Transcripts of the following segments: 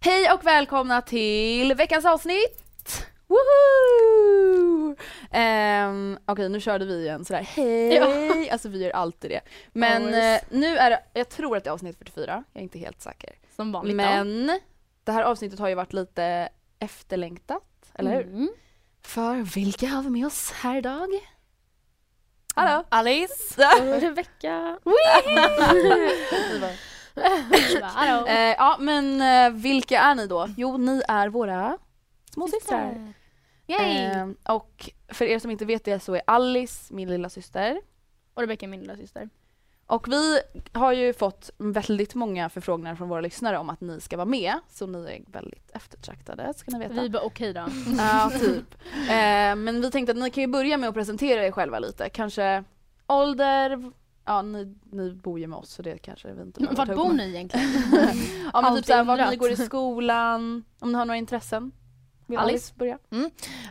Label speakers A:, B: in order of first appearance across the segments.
A: Hej och välkomna till veckans avsnitt! Woho! Ehm, Okej, nu körde vi igen sådär hej, alltså vi gör alltid det. Men
B: Always.
A: eh, nu är det, jag tror att det är avsnitt 44, jag är inte helt säker.
B: Som vanligt då.
A: Men det här avsnittet har ju varit lite efterlängtat, eller hur?
B: Mm.
A: För vilka har vi med oss här idag? Hallå!
B: Mm. Alice!
A: Ja.
B: Rebecka!
A: Eh, ja men eh, vilka är ni då? Jo ni är våra småsystrar.
B: Yay!
A: Eh, och för er som inte vet det så är Alice min lilla syster.
B: Och Rebecka är min lilla syster.
A: Och vi har ju fått väldigt många förfrågningar från våra lyssnare om att ni ska vara med. Så ni är väldigt eftertraktade ska ni veta.
B: Vi bara okej då.
A: Ja, typ. Eh, men vi tänkte att ni kan ju börja med att presentera er själva lite. Kanske ålder, ja ni, ni bor ju med oss så det kanske vi inte behöver ta
B: Vart
A: upp.
B: bor ni egentligen?
A: Ja men typ
B: Alltid
A: såhär, var
B: undrat.
A: ni går i skolan, om ni har några intressen. Vill Alice,
B: Alice?
A: börja?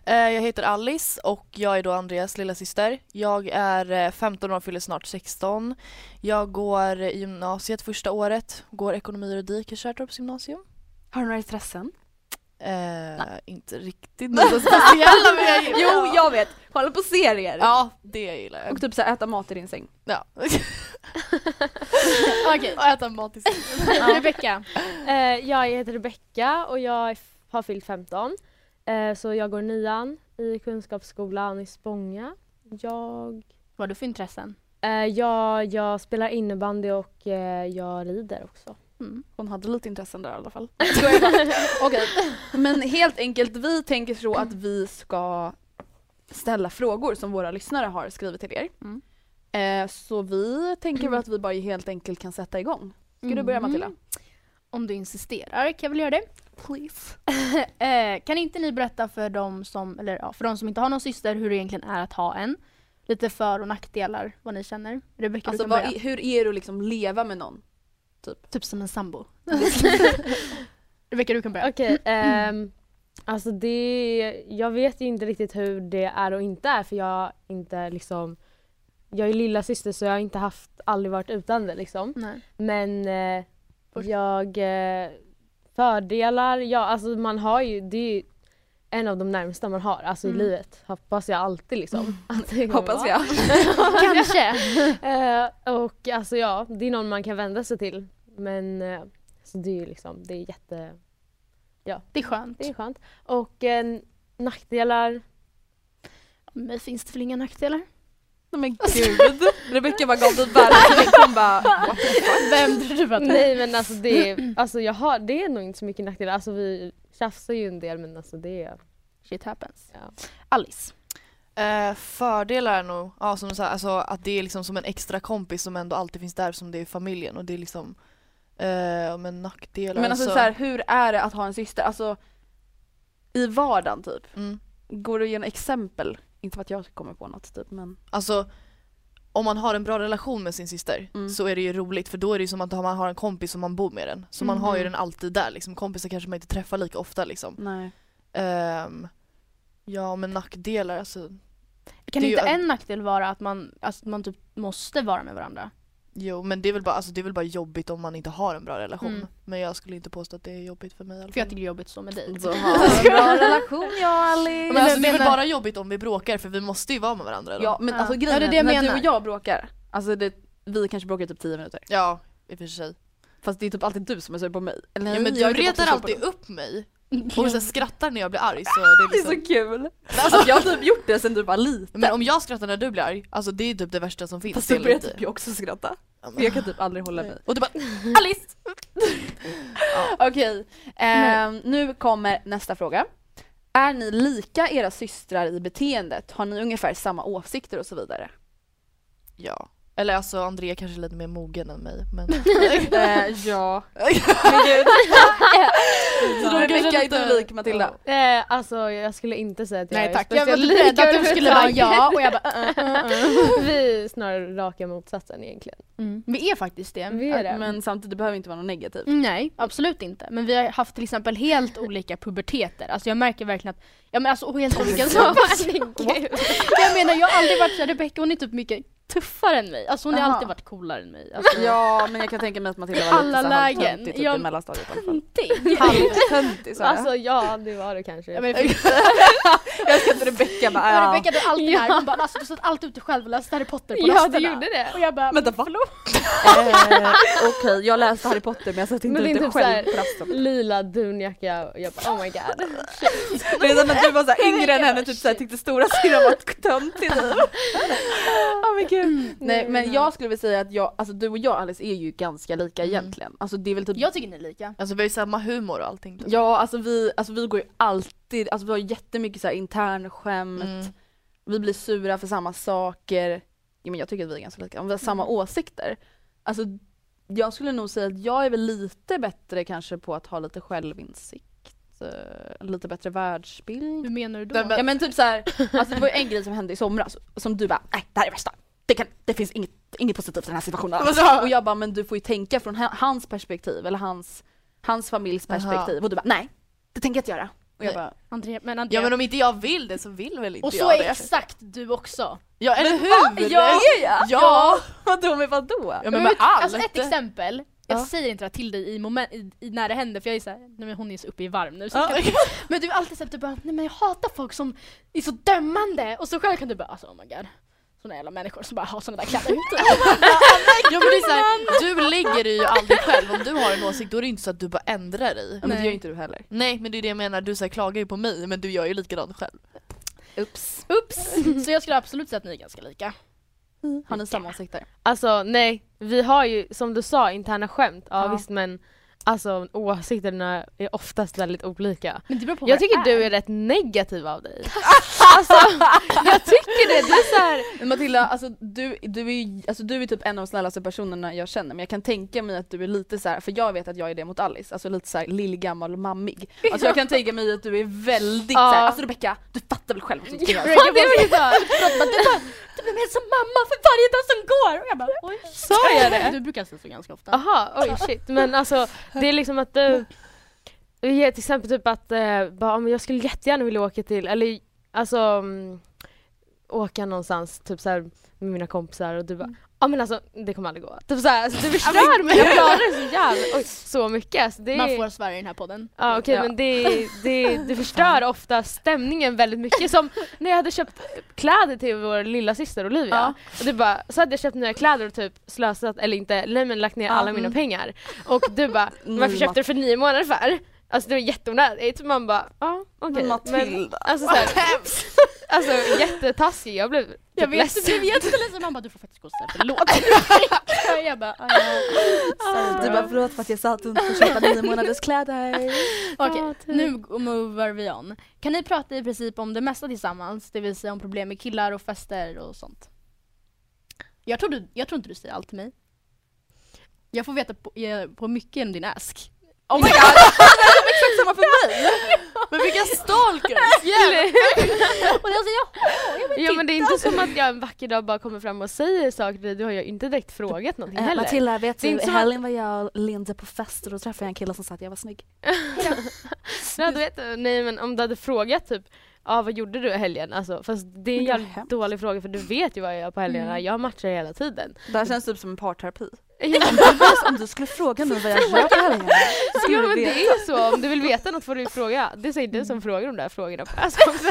C: Eh, Jag heter Alice och jag är då Andreas lilla syster. Jag är eh, 15 år och fyller snart 16. Jag går i gymnasiet första året, går ekonomi och juridik i Kärrtorps gymnasium.
A: Har du några intressen?
C: Eh, inte riktigt något speciella men jag gillar
A: Jo jag vet, kolla på serier!
C: Ja, det gillar jag.
A: Och typ såhär äta mat i din säng.
C: Ja.
B: Okej.
C: och äta mat i sängen.
B: Rebecka.
D: Eh, jag heter Rebecka och jag är f- har fyllt 15. Eh, så jag går nian i Kunskapsskolan i Spånga. Jag,
B: Vad har du för intressen?
D: eh, jag, jag spelar innebandy och eh, jag rider också.
B: Mm.
A: Hon hade lite intressen där i alla fall. Okej, men helt enkelt vi tänker så att vi ska ställa frågor som våra lyssnare har skrivit till er.
B: Mm.
A: Eh, så vi tänker väl att vi bara helt enkelt kan sätta igång. Ska du börja
B: Mm.
A: Matilda?
B: Om du insisterar kan jag väl göra det.
A: Please.
B: Eh, kan inte ni berätta för de som, eller ja, för de som inte har någon syster hur det egentligen är att ha en? Lite för och nackdelar, vad ni känner. Rebecka,
A: Alltså
B: du kan
A: vad,
B: börja.
A: i- hur är det att liksom leva med någon?
B: Typ som en sambo. Rebecka, du kan börja.
D: Okej, ehm, alltså det, jag vet ju inte riktigt hur det är och inte är för jag inte liksom jag är lilla syster så jag har inte haft, aldrig varit utan det liksom.
B: Nej.
D: Men eh,
B: Först-
D: jag... Eh, fördelar, ja alltså man har ju, det är ju en av de närmsta man har alltså
B: Mm.
D: i livet. Hoppas jag alltid liksom. Att det kommer
A: Hoppas
D: vara.
A: jag.
B: Kanske.
D: Eh, och alltså ja, det är någon man kan vända sig till. Men eh, så det är ju liksom, det är jätte,
B: Det är skönt.
D: det är skönt. Och eh, nackdelar,
B: Men finns det väl inga nackdelar?
A: Nej men gud. Rebecca bara gav dig världens blick. Alltså, Hon bara what the fuck?
B: Vem tror du att det är?
D: nej men alltså det, är- alltså jag har, det är nog inte så mycket nackdelar. Alltså vi tjafsar ju en del men alltså det är,
B: Shit happens.
D: Ja.
B: Alice.
C: Eh, fördelar är nog ja, som så här, alltså, att det är liksom som en extra kompis som ändå alltid finns där som det är i familjen och det är liksom eh, men nackdelar
A: Men alltså så här, hur är det att ha en syster? Alltså i vardagen typ.
C: mm.
A: Går du att ge några exempel? Inte för att jag kommer på något typ men.
C: Alltså om man har en bra relation med sin syster
A: Mm.
C: så är det ju roligt för då är det ju som att man har en kompis som man bor med den. Så man har ju den alltid där liksom. Kompisar kanske man inte träffar lika ofta liksom.
A: Nej.
C: Ehm, ja men nackdelar alltså.
B: Kan
C: Det är
B: inte
C: ju-
B: en nackdel vara att man, alltså, att man typ måste vara med varandra?
C: Jo men det är, väl bara, alltså, det är väl bara jobbigt om man inte har en bra relation.
B: Mm.
C: Men jag skulle inte påstå att det är jobbigt för mig i alla
B: För jag
C: fall.
B: tycker det är jobbigt så med dig.
A: Så Alltså, ha en bra relation jag och
C: Ja,
A: Alice.
C: Men alltså, det är väl
B: menar-
C: bara jobbigt om vi bråkar för vi måste ju vara med varandra då.
A: Ja men
B: Ja.
A: alltså
B: Ja,
A: grejen
B: det
A: är
B: är det jag
A: när du
B: menar.
A: och jag bråkar, alltså det, vi kanske bråkar i typ 10 minuter.
C: ja i och för sig.
A: Fast det är typ alltid du som är sur på mig. Eller
C: Ja,
A: hur?
C: men du
A: Jag är typ
C: retar
A: också sur på
C: alltid
A: dig.
C: upp mig och så här, skrattar när jag blir arg så det är
A: Det
C: liksom...
A: är så kul! Alltså jag har typ gjort det sen du var liten.
C: Men om jag skrattar när du blir arg, alltså det är typ det värsta som finns.
A: Fast
C: det
A: då
C: är
A: börjar
C: lite-
A: typ jag också skratta.
C: Ja, men-
A: För jag kan typ aldrig hålla mig.
C: Och du bara
A: Alice! Okej, ehm, nu kommer nästa fråga. Är ni lika era systrar i beteendet? Har ni ungefär samma åsikter och så vidare?
C: ja. Eller alltså Andrea kanske är lite mer mogen än mig men...
A: Eh, ja. Men gud. Så då är Rebecka inte lik Matilda.
D: Eh, alltså jag skulle inte säga att jag
B: Nej tack,
D: är
B: jag var
D: speciellt
B: lite rädd att du
D: överhuvudtaget.
B: skulle bara ja och jag bara uh,
D: Vi är snarare raka motsatsen egentligen.
B: Vi är faktiskt det.
D: Vi är det.
A: Men samtidigt behöver det inte vara något negativt.
B: Nej, absolut inte. Men vi har haft till exempel helt olika puberteter. Alltså jag märker verkligen att, ja men alltså och helt olika saker. jag menar jag har aldrig varit såhär, Rebecca hon är typ mycket tuffare än mig. Alltså hon har
A: Jaha.
B: alltid varit coolare än mig. Alltså,
A: Ja men jag kan tänka mig att Matilda var
B: Alla
A: lite så
B: lägen.
A: halvtöntig typ
B: Ja.
A: i mellanstadiet i alla fall.
B: någonting.
A: Halvtöntig sa jag.
D: Alltså ja det var det kanske.
B: Ja, men det finns-
A: jag ska inte Rebecka bara
B: Men
A: ja.
B: Rebecca du är alltid här, hon bara alltså du satt alltid ute själv och läste Harry Potter på
D: ja
B: rasterna.
D: det gjorde det.
B: Och jag bara,
A: Vänta va? Eh, Okej jag läste Harry Potter men jag satt inte
D: Men det är
A: ute
D: typ
A: själv
D: så här-
A: på rasten.
D: Lila dunjacka och jag bara oh my god.
A: Det är som att du var såhär yngre än henne typ såhär tyckte stora syrran var töntig typ. Oh my God. Nej men jag skulle vilja säga att jag, alltså du och jag Alice är ju ganska lika egentligen. Alltså det är väl typ
B: jag tycker ni är lika.
C: Alltså vi har ju samma humor och allting. typ.
A: Ja, alltså vi, alltså vi går ju alltid, alltså vi har jättemycket så här intern skämt.
C: Mm.
A: vi blir sura för samma saker. Ja, men jag tycker att vi är ganska lika, om vi har samma åsikter. Alltså, jag skulle nog säga att jag är väl lite bättre kanske på att ha lite självinsikt, eh, lite bättre världsbild.
B: Hur menar du då?
C: Nej, men-
A: Ja men typ såhär, alltså det var ju en grej som hände i somras som du bara nej det här är värsta, det, kan, det finns inget, inget positivt i den här situationen alls." Och jag bara men du får ju tänka från ha- hans perspektiv eller hans, hans familjs
C: Jaha.
A: perspektiv och du bara nej det tänker jag inte göra. Och jag
C: Nej.
A: bara
B: Andrea, men Andrea.
C: Ja men om inte jag vill det så vill väl inte
B: och så
C: jag
B: är
C: det.
B: exakt du också.
C: Ja eller hur!
A: Ja, är jag?
C: Ja!
A: Vadå med vadå?
C: Ja men med allt!
B: Alltså ett exempel, jag
C: Ja.
B: säger inte det här till dig i moment, i, i, när det händer för jag är såhär, nej men hon är så uppe i varm nu. Så
C: Ja.
B: Men du är alltid såhär, du bara, nej men jag hatar folk som är så dömande och så själv kan du bara, alltså oh my god. Såna jävla människor som bara har såna där kläder.
C: Ja, men det är så här, du lägger dig ju aldrig själv, om du har en åsikt då är det inte så att du bara ändrar dig.
A: Ja, men det gör ju inte du heller.
C: Nej men det är det jag menar, du så här, klagar ju på mig men du gör ju likadant själv.
A: Ups.
B: Ups! Så jag skulle absolut säga att ni är ganska lika.
A: Har ni samma åsikter?
D: Alltså nej, vi har ju som du sa interna skämt, ja,
A: Ja.
D: visst men alltså åsikterna är oftast väldigt olika.
B: Men det beror på
D: Jag tycker du är rätt negativ av dig. alltså jag tycker det, du är såhär
A: Men Matilda, alltså du, du, är, ju- alltså du är typ en av de snällaste personerna jag känner men jag kan tänka mig att du är lite så här, för jag vet att jag är det mot Alice, alltså lite så här lillgammal och mammig. Alltså jag kan tänka mig att du är väldigt så här,
D: Ja.
A: alltså Rebecka, du fattar väl själv vad som ska
D: Ja,
A: göras?
D: det var ju så.
B: Du är mer som mamma för varje dag som går! Och jag bara, oj.
D: Sa jag det?
B: Du brukar säga så ganska ofta.
D: Aha, oj shit. Men alltså det är liksom att du, du ger till exempel typ att eh, bara, "Ja, men jag skulle jättegärna vilja åka till, eller alltså mm, åka någonstans typ så här med mina kompisar och du bara ja men alltså det kommer aldrig gå. Typ såhär, alltså, du förstör mina planer så jävla, oj, så mycket. Alltså, det är,
B: Man får svära i den här podden.
D: Ja okej men det, det, det förstör ofta stämningen väldigt mycket som när jag hade köpt kläder till vår lilla syster Olivia. Och du bara, så hade jag köpt nya kläder och typ slösat, eller inte, nej men lagt ner alla mina pengar. Och du bara, varför köpte du för nio månader för? Alltså det var jätteonödigt. Man bara, ja okej.
A: Men Matilda.
D: alltså, så här, alltså jättetaskig, jag blev typ
B: Jag vet, du
D: ledsen.
B: blev jätteledsen. Man bara, du får faktiskt gå och säga förlåt. Och jag bara, "Ah,
A: Du bara förlåt för att jag sa att du inte får köpa nio månaders kläder.
B: Okej,
D: Ja, typ.
B: nu movar vi on. Kan ni prata i princip om det mesta tillsammans? Det vill säga om problem med killar och fester och sånt. Jag tror, du, jag tror inte du säger allt till mig. Jag får veta på, eh, på mycket genom din ask.
A: Oh my god! Det är exakt samma för mig!
C: Men vilka stalkers!
B: Och jag säger ja.
D: Ja men det är inte som att jag en vacker dag bara kommer fram och säger saker till dig, du har ju inte direkt frågat någonting
A: Eh,
D: heller.
A: Matilda, vet
D: Det är
A: du,
D: inte
A: i
D: som att-
A: helgen var jag och Linda på fest och då träffade jag en kille som sa att jag var snygg.
D: Nej, du vet, nej men om du hade frågat typ ja vad gjorde du i helgen? Alltså, fast det är en
A: Men det var
D: jävligt
A: hemskt.
D: dålig fråga för du vet ju vad jag gör på helgerna, jag har matcher hela tiden.
A: Det här känns typ som en parterapi.
D: Ja,
A: Om du skulle fråga mig vad jag gör på helgen.
D: ja
A: skulle
D: men
A: du
D: det
A: veta.
D: är ju så, om du vill veta något får du ju fråga. Det säger du som frågar de där frågorna. Alltså, också.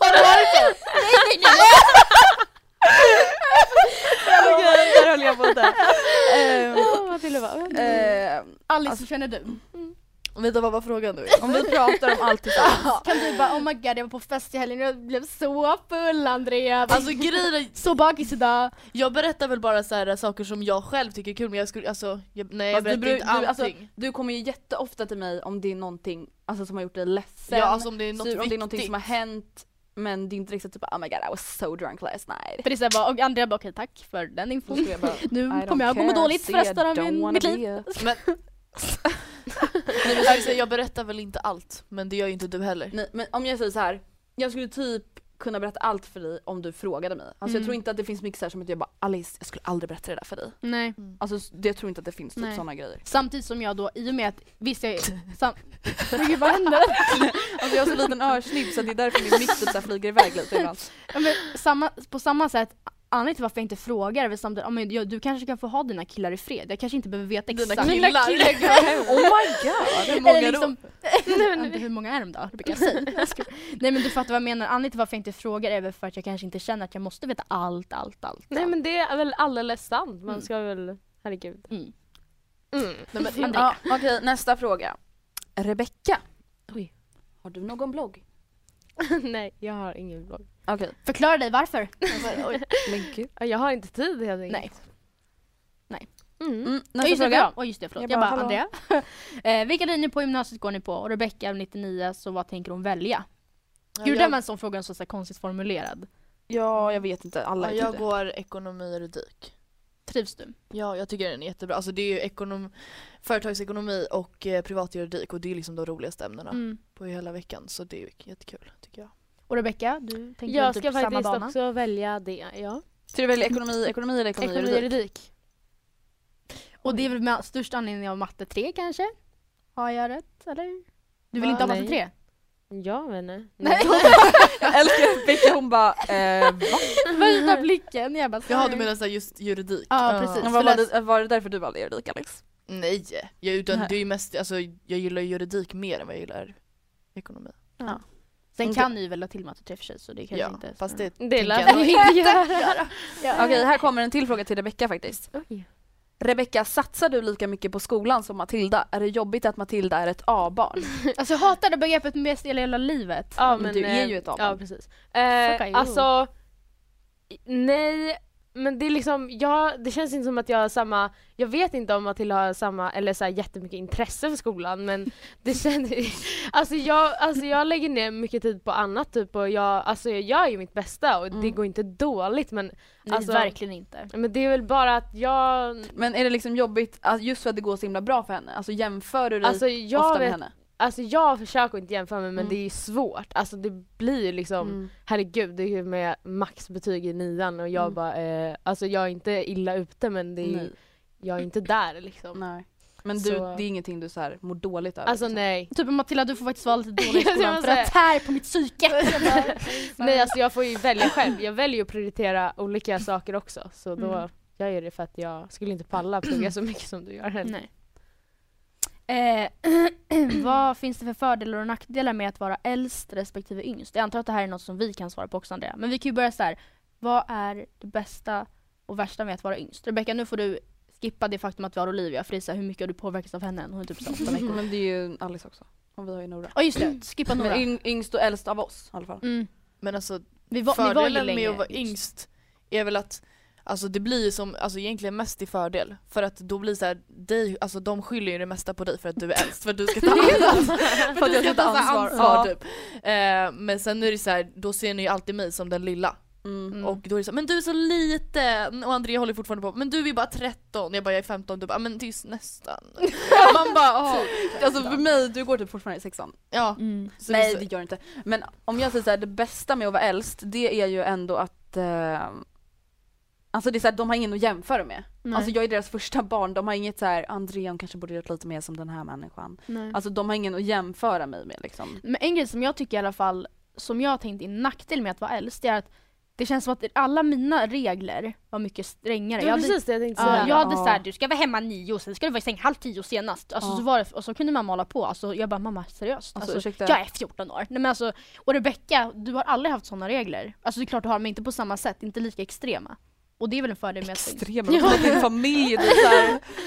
B: Har du varit så? Nej, nej, nej, nej.
A: Där höll jag på att dö. Ehm,
D: Åh, Matilda bara, "Mm."
A: ehm,
B: Alice, hur känner du?
C: Vänta vad var frågan nu?
A: Om vi pratar om allt tillsammans.
B: Kan du bara oh my god jag var på fest i helgen och jag blev så full Andrea.
C: Alltså grejen är,
B: så bakis idag.
C: jag berättar väl bara så här, saker som jag själv tycker är kul men jag skulle, alltså, jag, nej jag
A: Fast du,
C: berättar
A: bru-
C: inte allting.
A: du, alltså, du kommer ju jätteofta till mig om det är någonting alltså, som har gjort dig ledsen.
C: ja alltså om det är något
A: sur, om det är någonting
C: viktigt.
A: som har hänt men det är inte riktigt typ oh my god I was so drunk last night.
B: För det är så här bara, och Andrea bara okej tack för den infon.
A: Då skulle jag bara,
B: Nu
A: "I
B: kommer
A: don't
B: jag må
A: care,
B: dåligt för
A: see, I
B: resten av
A: don't
B: min,
A: wanna
B: mitt
A: be
B: liv.
A: a-"
C: Men, nej, men alltså, jag berättar väl inte allt men det gör ju inte du heller.
A: Nej, men om jag säger så här. jag skulle typ kunna berätta allt för dig om du frågade mig. Alltså jag
B: Mm.
A: tror inte att det finns mycket så här som att jag bara Alice jag skulle aldrig berätta det där för dig.
B: Nej.
C: Mm.
A: Alltså s- det jag tror inte att det finns typ
B: Nej.
A: sådana grejer.
B: Samtidigt som jag då, i och med att visst jag sam- Men gud vad händer?
A: Alltså jag har så liten örsnibb så det är därför min mick typ så här flyger iväg lite ibland.
B: Ja, men samma, på samma sätt, anledningen till varför jag inte frågar är väl samtidigt, ja, men jag, du kanske kan få ha dina killar i fred. Jag kanske inte behöver veta
C: Dina
B: exakt.
C: killar.
A: Oh my god!
C: Hur många
B: Eller
C: då?
B: liksom, Ante, hur många är de då? Det brukar jag säga. Jag skojar. Nej men du fattar vad jag menar, anledningen till varför jag inte frågar är väl för att jag kanske inte känner att jag måste veta allt, allt, allt.
D: Nej
B: allt.
D: men det är väl alldeles sant, man
B: Mm.
D: ska väl, herregud.
B: Mm.
D: Mm.
C: Nej, men,
B: Andrea.
A: Ja, Okej nästa fråga. Rebecka.
D: Oj.
A: Har du någon blogg?
D: Nej jag har ingen blogg.
A: Okej.
B: Förklara dig varför.
A: Men gud.
D: Jag har inte tid helt enkelt.
B: Nej.
D: Mm.
A: Mm,
B: Ja,
A: nästa
B: just det,
A: fråga.
B: bra. Oj, just det, förlåt.
D: Jag
B: Jag,
D: bara,
B: bara, Andrea. eh, vilka linjer på gymnasiet går ni på? Och Rebecka 99, så vad tänker hon välja? Gud, det där var en sån fråga som var så här konstigt formulerad.
A: Ja, jag vet inte. Alla
C: Ja,
A: är
C: jag
A: jag
C: går ekonomi och juridik.
B: Trivs du?
C: Ja, jag tycker den är jättebra. Alltså det är ju ekonom, företagsekonomi och eh, privatjuridik och det är liksom de roligaste ämnena
B: Mm.
C: på hela veckan. Så det är ju jättekul tycker jag.
B: Och Rebecka, du tänker
D: Jag
B: väl typ
D: ska
B: på samma
D: faktiskt
B: bana?
D: också välja det, ja.
A: Ska du välja ekonomi, ekonomi eller ekonomi,
D: Ekonomi
A: och
D: och
A: juridik?
D: juridik.
B: Och det är väl med största anledning av matte 3 kanske? Har jag rätt eller? Du vill
D: Va?
B: inte ha
D: Nej.
B: matte 3?
D: Jag vet inte.
B: Nej.
A: Jag älskar Rebecka, hon bara eh, va?
B: Vänta blicken, jag bara
C: Jaha, du
B: sorry.
C: menar såhär just juridik?
B: Ja, precis.
A: Vad Var det, var det därför du valde juridik Alex?
C: Nej, jag, utan
A: Nej.
C: det är ju mest, alltså jag gillar juridik mer än vad jag gillar ekonomi.
B: Sen kan ni väl ha till matte 3 för sig så det kanske
C: Mm. Ja,
B: inte...
C: fast det
D: Det
C: tänker
D: lär
C: jag
D: vi inte göra.
B: Ja.
A: Okej, här kommer en till fråga till Rebecka faktiskt.
D: Oj.
A: Rebecka, satsar du lika mycket på skolan som Matilda? Är det jobbigt att Matilda är ett A-barn?
B: Alltså jag hatar det begreppet mest i hela, hela livet.
D: Ja,
A: Men du är
D: eh,
A: ju ett
D: Ja
A: A-barn.
D: precis.
B: Fuck
D: Eh,
B: you.
D: alltså, nej men det är liksom, jag, det känns inte som att jag har samma, jag vet inte om Matilda har samma, eller så här, jättemycket intresse för skolan men det känns, alltså jag, alltså jag lägger ner mycket tid på annat typ och jag, alltså jag gör ju mitt bästa och det
A: Mm.
D: går inte dåligt men
B: Nej,
D: alltså-
B: verkligen inte.
D: men det är väl bara att jag,
A: Men är det liksom jobbigt att- just för att det går så himla bra för henne? Alltså jämför du dig
D: alltså
A: ofta
D: jag
A: med
D: vet
A: henne?
D: Alltså jag försöker inte jämföra mig men
A: Mm.
D: det är ju svårt. Alltså det blir ju liksom,
A: Mm.
D: herregud det är ju med maxbetyg i nian och jag
A: Mm.
D: bara, eh, alltså jag är inte illa ute men det är, ju-
A: Nej.
D: jag är inte där liksom.
A: nej. Men du,
D: Mm. Så-
A: det är ingenting du så här mår dåligt över?
D: Alltså
A: liksom.
D: nej.
B: Typ Matilda du får faktiskt vara lite dålig i
D: Jag
B: skolan
D: måste
B: för att
D: säga-
B: tär på mitt psyke. Jag bara,
D: Nej alltså jag får ju välja själv, jag väljer att prioritera olika saker också så då
B: Mm.
D: jag gör det för att jag skulle inte palla plugga så mycket som du gör heller.
B: Nej. Eh, vad finns det för fördelar och nackdelar med att vara äldst respektive yngst? Jag antar att det här är något som vi kan svara på också Andrea. Men vi kan ju börja så här. Vad är det bästa och värsta med att vara yngst? Rebecka nu får du skippa det faktum att vi har Olivia för det är så här, hur mycket har du påverkats av henne? Hon är typ så här åtta veckor.
A: Men det är ju Alice också. Och vi har ju Nora.
B: Ja just det, skippa
A: Mm. Men
B: några.
A: yng- yngst och äldst av oss i alla fall.
B: Mm.
C: Men alltså
B: Vi var, ni var ju
C: fördelen
B: länge
C: med att vara yngst är väl att Alltså det blir ju som, alltså egentligen mest till fördel. För att då blir det såhär, dig, alltså de skyller ju det mesta på dig för att du är äldst. För att du ska ta ansvar. för att du ska ta ansvar.
A: Ja.
C: typ. eh, men sen är det så här, då ser ni ju alltid mig som den lilla.
A: Mm.
C: Och då är det så här, men du är så liten! Och Andrea håller fortfarande på, men du är bara 13. Jag bara, jag är 15. Du bara, men det är ju nästan. Man bara, "Åh."
A: Alltså för mig, du går typ fortfarande i sexan.
C: Ja.
B: Mm.
C: Så
A: Nej
C: det
A: det
C: är så,
A: gör du inte. Men om jag säger såhär, det bästa med att vara äldst det är ju ändå att eh, Alltså det är så här, de har ingen att jämföra med.
B: Nej.
A: Alltså jag är deras första barn, de har inget så här, André hon kanske borde gjort lite mer som den här människan.
D: Mm.
B: Nej.
A: Alltså de har ingen att jämföra mig med liksom.
B: Men en grej som jag tycker i alla fall, som jag har tänkt är en nackdel med att vara äldst, det är att det känns som att alla mina regler var mycket strängare.
D: Det var
B: jag
D: precis det jag tänkte
B: hade, ja,
D: säga.
B: jag hade
A: Ja.
B: såhär, du ska vara hemma nio och sen ska du vara i säng halv tio senast. Alltså,
A: Ja.
B: så var det, och så kunde mamma hålla på. Alltså, jag bara, mamma seriöst?
A: Alltså,
B: Alltså,
A: ursäkta.
B: jag är 14 år. Nej, men alltså, och Rebecca, du har aldrig haft sådana regler. Alltså det är klart du har, men inte på samma sätt, inte lika extrema. Och det är väl en fördel med att
A: Extrema, ja. din familj,
D: typ
A: det är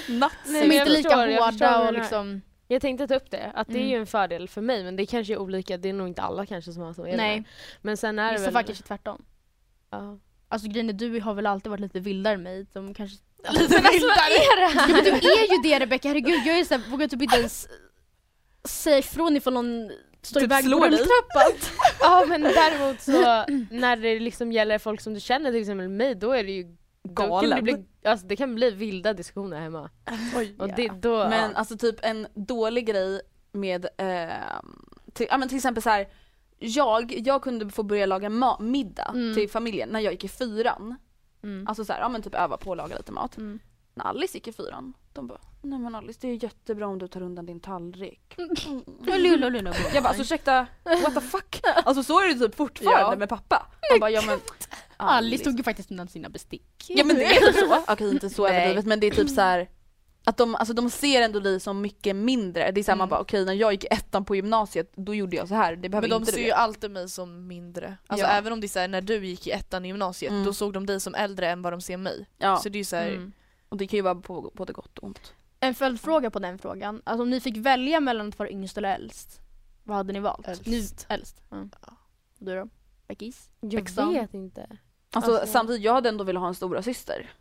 A: såhär nazi.
D: Nej, men
B: De är
D: jag
B: inte lika
D: förstår, jag förstår vad
B: hårda
D: du
B: och
D: menar.
B: liksom...
D: Jag tänkte ta upp det, att det är ju
B: Mm.
D: en fördel för mig men det kanske är olika, det är nog inte alla kanske som har så. regler.
B: Nej,
D: Men sen är det
B: vissa
D: väl...
B: fall kanske tvärtom.
D: Ja.
B: Alltså grejen är, du har väl alltid varit lite vildare än mig. De kanske...
D: Lite vildare!
B: Ja, men du är ju det Rebecca, herregud. Jag är så här, vågar typ inte ens säga ifrån ifall någon står i
A: Typ
B: vägen på
A: slår dig.
B: rulltrappan.
D: Ja men däremot så när det liksom gäller folk som du känner till exempel mig då är det ju Då kan det,
A: Galen.
D: bli, alltså, det kan bli vilda diskussioner hemma. Och det, då,
A: Men alltså typ en dålig grej med, eh, till, ja, men till exempel så här. Jag, jag kunde få börja laga ma- middag
B: Mm.
A: till familjen när jag gick i fyran.
B: Mm.
A: Alltså så här, ja men typ öva på att laga lite mat.
B: Mm.
A: När Alice gick i fyran, de bara Nej men Alice det är jättebra om du tar undan din tallrik. Mm.
B: Lula, lula, lula.
A: Jag bara alltså ursäkta, what the fuck? Alltså så är det typ fortfarande
D: Ja.
A: med pappa. Han bara ja liksom. men
B: Alice tog ju faktiskt undan sina bestick.
A: Ja men det är inte så, okej inte så
D: Nej.
A: överdrivet men det är typ så här att de, alltså de ser ändå dig som mycket mindre. Det är såhär man bara okej när jag gick i ettan på gymnasiet då gjorde jag så här. det behöver
C: Men de
A: inte
C: ser
A: du
C: ju
A: göra.
C: alltid mig som mindre. Alltså
A: Ja.
C: även om det är så här, när du gick i ettan i gymnasiet,
A: Mm.
C: då såg de dig som äldre än vad de ser mig.
A: Ja.
C: Så det är ju så här,
B: Mm.
A: Och det kan ju vara på både gott och ont.
B: En följdfråga på den frågan. Alltså om ni fick välja mellan att vara yngst eller äldst, vad hade ni valt?
C: Äldst. Alltså,
B: Nu, äldst. Mm. Och Du då? Beckis?
D: jag
B: liksom-
D: vet inte.
A: Alltså,
D: Alltså-
A: samtidigt, jag hade ändå velat ha en stora syster.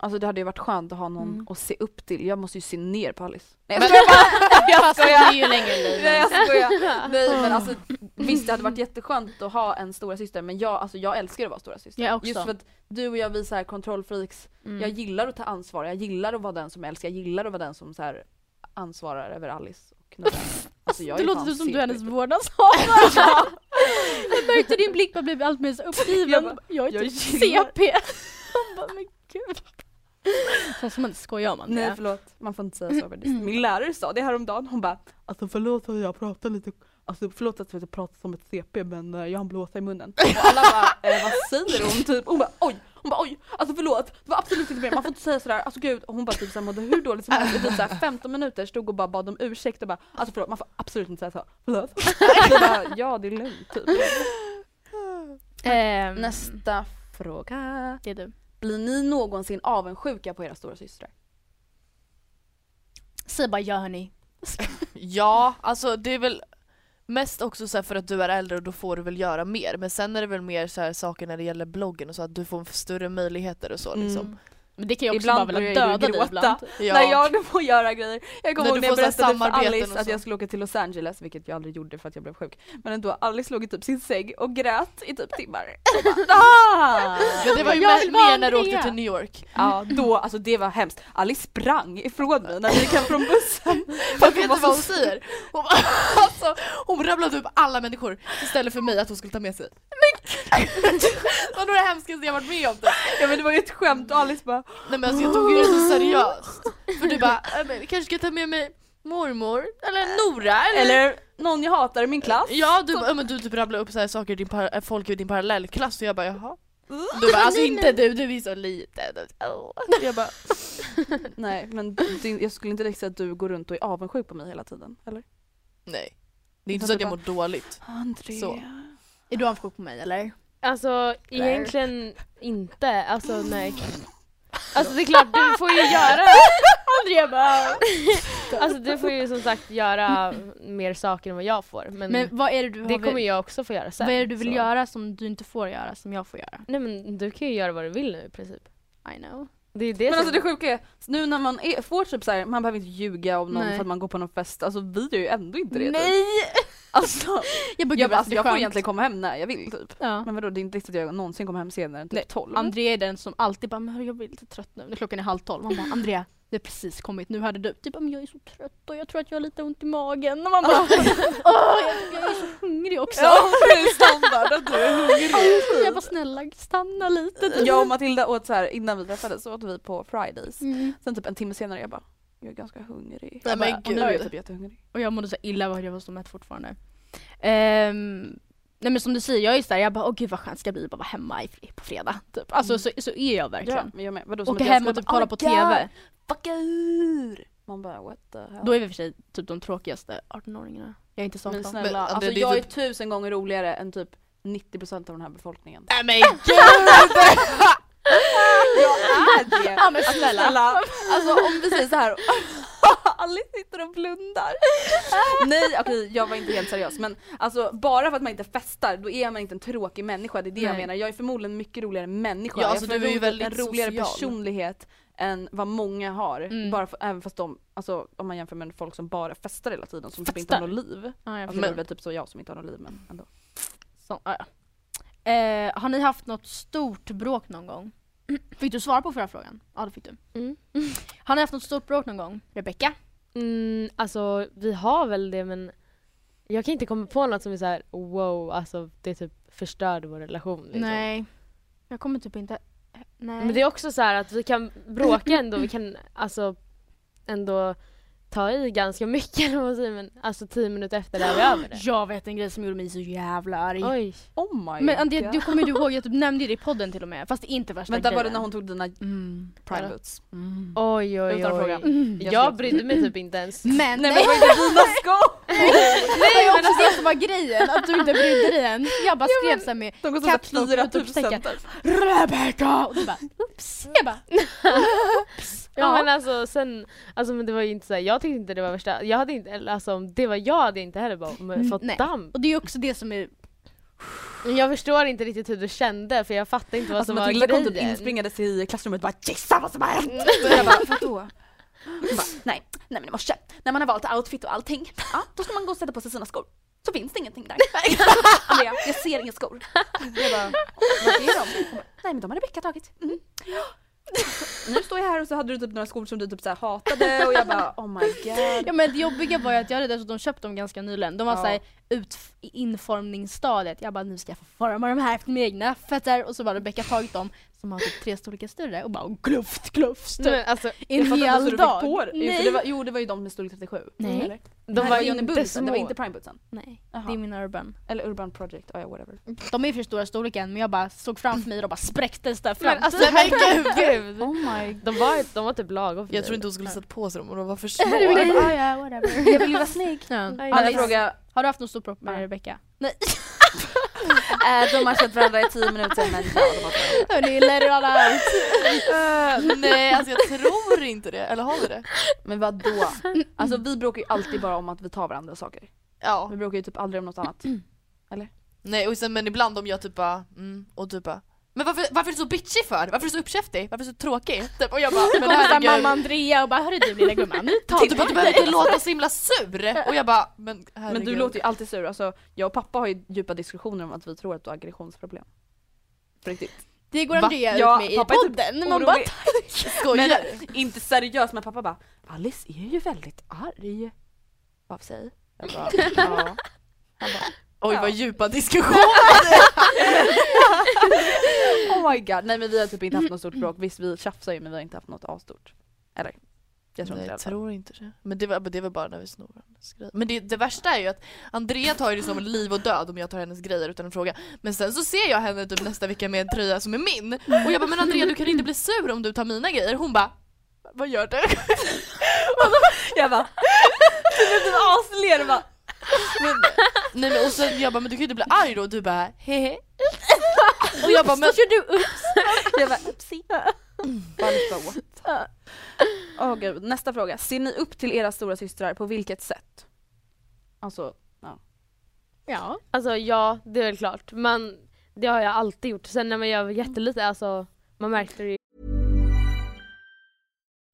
A: Alltså det hade ju varit skönt att ha någon
B: Mm.
A: att se upp till. Jag måste ju se ner på Alice. Nej,
B: Men-
A: jag skojar.
B: Jag skojar! ju längre än dig.
A: Nej, Alltså, jag skojar. Nej men alltså visst det hade varit jätteskönt att ha en stora syster men jag, alltså, jag älskar att vara stora syster.
B: Jag också.
A: Just för att du och jag vi är så här kontrollfreaks.
B: Mm.
A: Jag gillar att ta ansvar, jag gillar att vara den som älskar, jag gillar att vara den som så här ansvarar över Alice och Nora. Alltså jag
B: det
A: är
B: låter
A: fan
B: typ som du
A: seg
B: är
A: på
B: hennes
A: riktigt.
B: vårdnadshavare. Jag märkte din blick bara blev allt mer så
A: Jag
B: uppgiven.
A: bara,
B: Jag är
A: jag
B: typ
A: gillar-
B: CP. Jag bara, men gud. Så som man inte skojar om
A: Nej
B: Andrea.
A: förlåt, man får inte säga så. men det- Min lärare sa det häromdagen, hon bara Alltså förlåt att jag pratar lite, alltså förlåt att jag pratar som ett CP men eh, jag har en blåsa i munnen. Och alla bara eh, vad säger hon typ? Hon bara oj, hon bara oj, alltså förlåt, det var absolut inte mer, man får inte säga sådär, alltså gud. Och hon bara typ såhär mådde hur dåligt som helst i typ såhär 15 minuter stod och bara bad om ursäkt och bara alltså förlåt man får absolut inte säga så, förlåt. Jag bara, ja det är lugnt typ.
B: Ehm,
A: Nästa fråga.
B: Det är du.
A: Blir ni någonsin avundsjuka på era stora systrar?
B: Säg bara ja hörni.
C: ja alltså det är väl mest också så här för att du är äldre och då får du väl göra mer. Men sen är det väl mer så här saker när det gäller bloggen och så att du får större möjligheter och så liksom.
B: Men det kan jag också
A: Ibland
B: bara vilja
A: börjar
B: döda
A: jag
B: dig
A: gråta.
B: ibland.
C: Ja.
A: När jag nu får göra grejer. Jag kommer
C: När
A: ihåg
C: du
A: när jag
C: får så här
A: berättade för
C: samarbeten
A: Alice
C: och
A: att
C: så.
A: jag skulle åka till Los Angeles, vilket jag aldrig gjorde för att jag blev sjuk. Men ändå, Alice låg i typ sin säng och grät i typ timmar. Och bara, "Ah!"
C: Men det var ju
B: Jag
C: mer,
B: vill vara
C: mer när du
B: Andrea.
C: åkte till New York.
A: Ja, då, alltså det var hemskt. Alice sprang ifrån mig när vi gick hem från bussen. För att
C: Vet du vad hon säger? Hon, bara- alltså, hon rabblade upp alla människor istället för mig att hon skulle ta med sig. det var nog det hemskaste jag varit med om. typ.
A: Ja men det var ju ett skämt och Alice bara
C: Nej men alltså jag tog ju det så seriöst. För du bara, "Äh, men, kanske ska jag ta med mig mormor eller Nora eller...
A: eller någon jag hatar i min klass.
C: Ja du, bara, "Äh, men du typ rabblade upp så här saker, i din par- äh, folk i din parallellklass och jag bara jaha. Du bara alltså inte du, du är så liten. Åh. Jag bara,
A: Nej men din, jag skulle inte direkt säga att du går runt och är avundsjuk på mig hela tiden, eller?
C: nej. Det är inte så att jag mår dåligt.
A: Andrea.
C: Så.
B: Är du avundsjuk på mig eller?
D: Alltså egentligen inte, alltså nej. Alltså det är klart du får ju göra... Andrea bara... Alltså du får ju som sagt göra mer saker än vad jag får men,
B: Men
A: Mm.
B: vad är det du har
D: det kommer jag också få göra sen.
B: Vad är det du vill
D: så.
B: göra som du inte får göra som jag får göra?
D: Nej men du kan ju göra vad du vill nu i princip.
B: I know.
D: Det är det
A: Men
D: som...
A: alltså det sjuka är, nu när man är, får typ såhär, man behöver inte ljuga om någon
B: Nej.
A: för att man går på någon fest, alltså vi gör ju ändå inte det typ.
B: Nej!
A: Alltså,
B: Jag bara,
A: jag,
B: gud,
A: bara, alltså, jag
B: alltså, det är
A: får
B: skönt.
A: egentligen komma hem när jag vill typ.
B: Ja.
A: Men vadå det är inte riktigt att jag någonsin kommer hem senare än typ 12.
B: Andrea är den som alltid bara, men hörru, jag blir lite trött nu. Klockan är halv tolv. Man bara, Andrea, det har precis kommit, nu hade du typ "Ja, men jag är så trött och jag tror att jag har lite ont i magen och man bara Åh, jag, jag är så hungrig också.
A: Ja, det är standard att du är hungrig.
B: Jag bara snälla stanna lite. typ."
A: Jag och Matilda åt så här innan vi träffades så åt vi på Fridays.
B: Mm.
A: Sen typ en timme senare jag bara jag är ganska hungrig.
C: Nej,
A: Jag bara,
C: men
A: och nu är jag
B: gud.
A: typ jättehungrig.
B: Och jag mådde så illa och jag var så mätt fortfarande. Ehm, nej men som du säger, jag är såhär, jag bara åh gud vad skönt ska det bli att bara vara hemma i, på fredag. Typ. Alltså
E: Mm.
B: så, så är jag
E: Ja,
B: verkligen.
E: men jag med. Vadå,
B: Åka
E: att jag
B: hem
E: ska
B: och typ
E: bara,
B: kolla
E: "Oh
B: på
E: my
B: TV.
E: God, Fucka ur! Man bara what the hell.
B: Då är vi i och för sig typ de tråkigaste 18-åringarna. Jag är inte sån.
E: men
B: sån.
E: snälla,
C: Men, ja, det-
E: alltså,
C: det är
E: jag är
C: typ-
E: tusen gånger roligare än typ 90% av den här befolkningen.
C: Nej men gud!
A: Jag är det!
B: Ja men snälla.
A: Snälla, alltså om vi säger så här. Alice sitter och blundar. Nej okej jag var inte helt seriös men alltså bara för att man inte festar då är man inte en tråkig människa det är det jag
B: Nej.
A: menar. Jag är förmodligen en mycket roligare människa.
C: Ja,
A: Jag
C: alltså,
A: har
C: du är ju
A: förmodligen
C: väldigt
A: en roligare
C: social.
A: personlighet än vad många har.
B: Mm.
A: Bara för, även fast de, alltså om man jämför med folk som bara festar hela tiden som typ inte har
B: Festar.
A: något liv.
B: Ja, jag
A: Alltså,
B: förstår.
A: det är väl typ så jag som inte har något liv men ändå.
B: Så, ja, ja. Eh, har ni haft något stort bråk någon gång? Fick du svara på förra frågan? Ja det fick du.
D: Mm.
B: Har ni haft något stort bråk någon gång? Rebecka?
D: Mm, alltså vi har väl det men jag kan inte komma på något som är så här: wow, alltså det typ förstörde vår relation. Liksom.
B: Jag kommer typ inte... Nej.
D: Men det är också så här att vi kan bråka ändå, vi kan alltså ändå ta i ganska mycket eller vad man säger men alltså tio minuter efter det är vi över det.
B: Jag vet en grej som gjorde mig så jävla arg.
D: Oj.
A: Oh my
B: Men Andrea,
A: god.
B: du kommer du ihåg, jag typ nämnde ju det i podden till och med. Fast det är inte värsta
A: Vänta var det
B: grejen.
A: när hon tog dina
B: Mm.
A: prime
B: Ja.
A: boots? Mm.
D: Oj oj
A: Utan
D: oj.
A: fråga.
B: Mm.
A: Jag
D: Jag
A: skulle-
D: brydde mig typ inte ens.
B: Men, nej,
A: Nej men var inte dina skor!
B: det var ju också det som var grejen, att du inte brydde dig än. Jag bara skrev såhär med
A: De kostar
B: Kapslock och
A: såhär 4000
B: utropstecken. Rebecca! Och du bara oops. Jag bara
D: Ja
B: Ja.
D: men alltså sen, alltså men det var ju inte så här, jag tyckte inte det var värsta, jag hade inte, eller alltså om det var jag hade inte heller bara men, fått
B: nej.
D: damp.
B: Och det är ju också det som är...
D: Men jag förstår inte riktigt hur du kände för jag fattar inte vad
A: Alltså
D: som var
A: Matilda kom typ
D: grejen.
A: inspringandes i klasserummet och bara gissa vad som har hänt!
E: Och jag bara, vadå?
A: Hon bara, nej, nej men i morse när man har valt outfit och allting, ja, då ska man gå och sätta på sig sina skor. Så finns det ingenting där. Andrea, jag ser inga skor. Jag bara, vad är de? Hon bara, nej men de har Rebecka tagit. Mm. Nu står jag här och så hade du typ några skor som du typ så här hatade och jag bara oh my god.
B: Ja men det jobbiga var ju att jag hade dessutom köpt dem ganska nyligen. De var
A: Ja.
B: såhär ut i informningsstadiet. Jag bara nu ska jag få forma de här efter mina egna fötter. Och så bara Rebecca tagit dem som har typ tre storlekar större och bara glufft glufft.
D: Men alltså,
B: en
A: Jag fattar inte ens hur
B: hel
A: du
B: dag.
A: fick på det. Jo, för det var, jo det var ju de med storlek 37.
B: Nej.
A: Eller?
D: de
A: det
D: var
A: var
D: ju
A: Johnny
D: inte
A: Bootsen, det var
D: små.
A: inte Prime Bootsen.
B: Nej, det
A: Jaha.
B: är min urban.
A: Eller Urban Project, oh, ja whatever.
B: De är för stora storleken men jag bara såg framför mig och bara spräcktes där fram.
D: Men alltså herregud.
B: oh my god.
D: De var, de var typ lagom för
C: Jag
D: dig.
C: tror inte hon skulle satt på sig dem och de var för
B: Ah,
C: små.
B: ja, whatever.
A: Jag vill ju vara snygg.
B: Ja.
D: Aj,
A: Alla
D: Alice.
A: fråga,
B: Har du haft något stort bråk
A: Nej.
B: med Rebecca? Nej.
A: eh, de har känt varandra i 10 minuter men ja, de har känt varandra.
B: Hörni, let it all out.
C: Eh, nej alltså jag tror inte det, eller har vi det?
A: Men vadå? Alltså vi bråkar ju alltid bara om att vi tar varandra saker.
C: Ja.
A: Vi bråkar ju typ aldrig om något annat.
C: Nej och sen, men ibland om jag typ bara, mm, och typ bara men varför, varför är du så bitchig för? Varför är du så uppkäftig? Varför är du så tråkig? Typ, och jag bara, men
B: Kommer såhär
C: herregud.
B: mamma Andrea och bara hörru du lilla gumman, nu tar
C: Och typ du bara, du behöver inte låta så himla sur! Och jag bara, men herregud.
A: Men du låter ju alltid sur. Alltså, jag och pappa har ju djupa diskussioner om att vi tror att du har aggressionsproblem. På riktigt.
B: Det går
C: Va?
B: Andrea ut
A: Ja,
B: med i
A: pappa är typ
B: podden. Man bara,
A: orolig.
C: Skojar!
F: uh,
C: Men,
A: Men, inte seriöst men pappa bara Alice är ju väldigt arg. Av sig. Jag bara, ja. Han bara,
C: Oj
A: ja.
C: vad djupa diskussioner!
A: Oh my god, nej men vi har typ inte haft något stort bråk. Visst vi tjafsar ju men vi har inte haft något asstort. Eller? Jag tror inte det. i alla fall.
C: tror inte det. Men det var, men det var bara när vi snor hennes grejer. Men det, det värsta är ju att Andrea tar ju det som liv och död om jag tar hennes grejer utan en fråga. Men sen så ser jag henne typ nästa vecka med en tröja som är min. Och jag bara, men Andrea du kan inte bli sur om du tar mina grejer. Hon bara, vad gör du?
A: Jag bara, du blev asler bara.
C: Men, nej men och sen jag bara, men du kan ju inte bli arg då. Och du bara, hehe. Och jag bara, men
A: Jag bara upsi. Bara, what? Åh gud. Nästa fråga. Ser ni upp till era stora systrar på vilket sätt? Alltså,
B: ja.
D: Alltså ja, det är väl klart. Man, det har jag alltid gjort. Sen när man gör jättelite, alltså man märkte det ju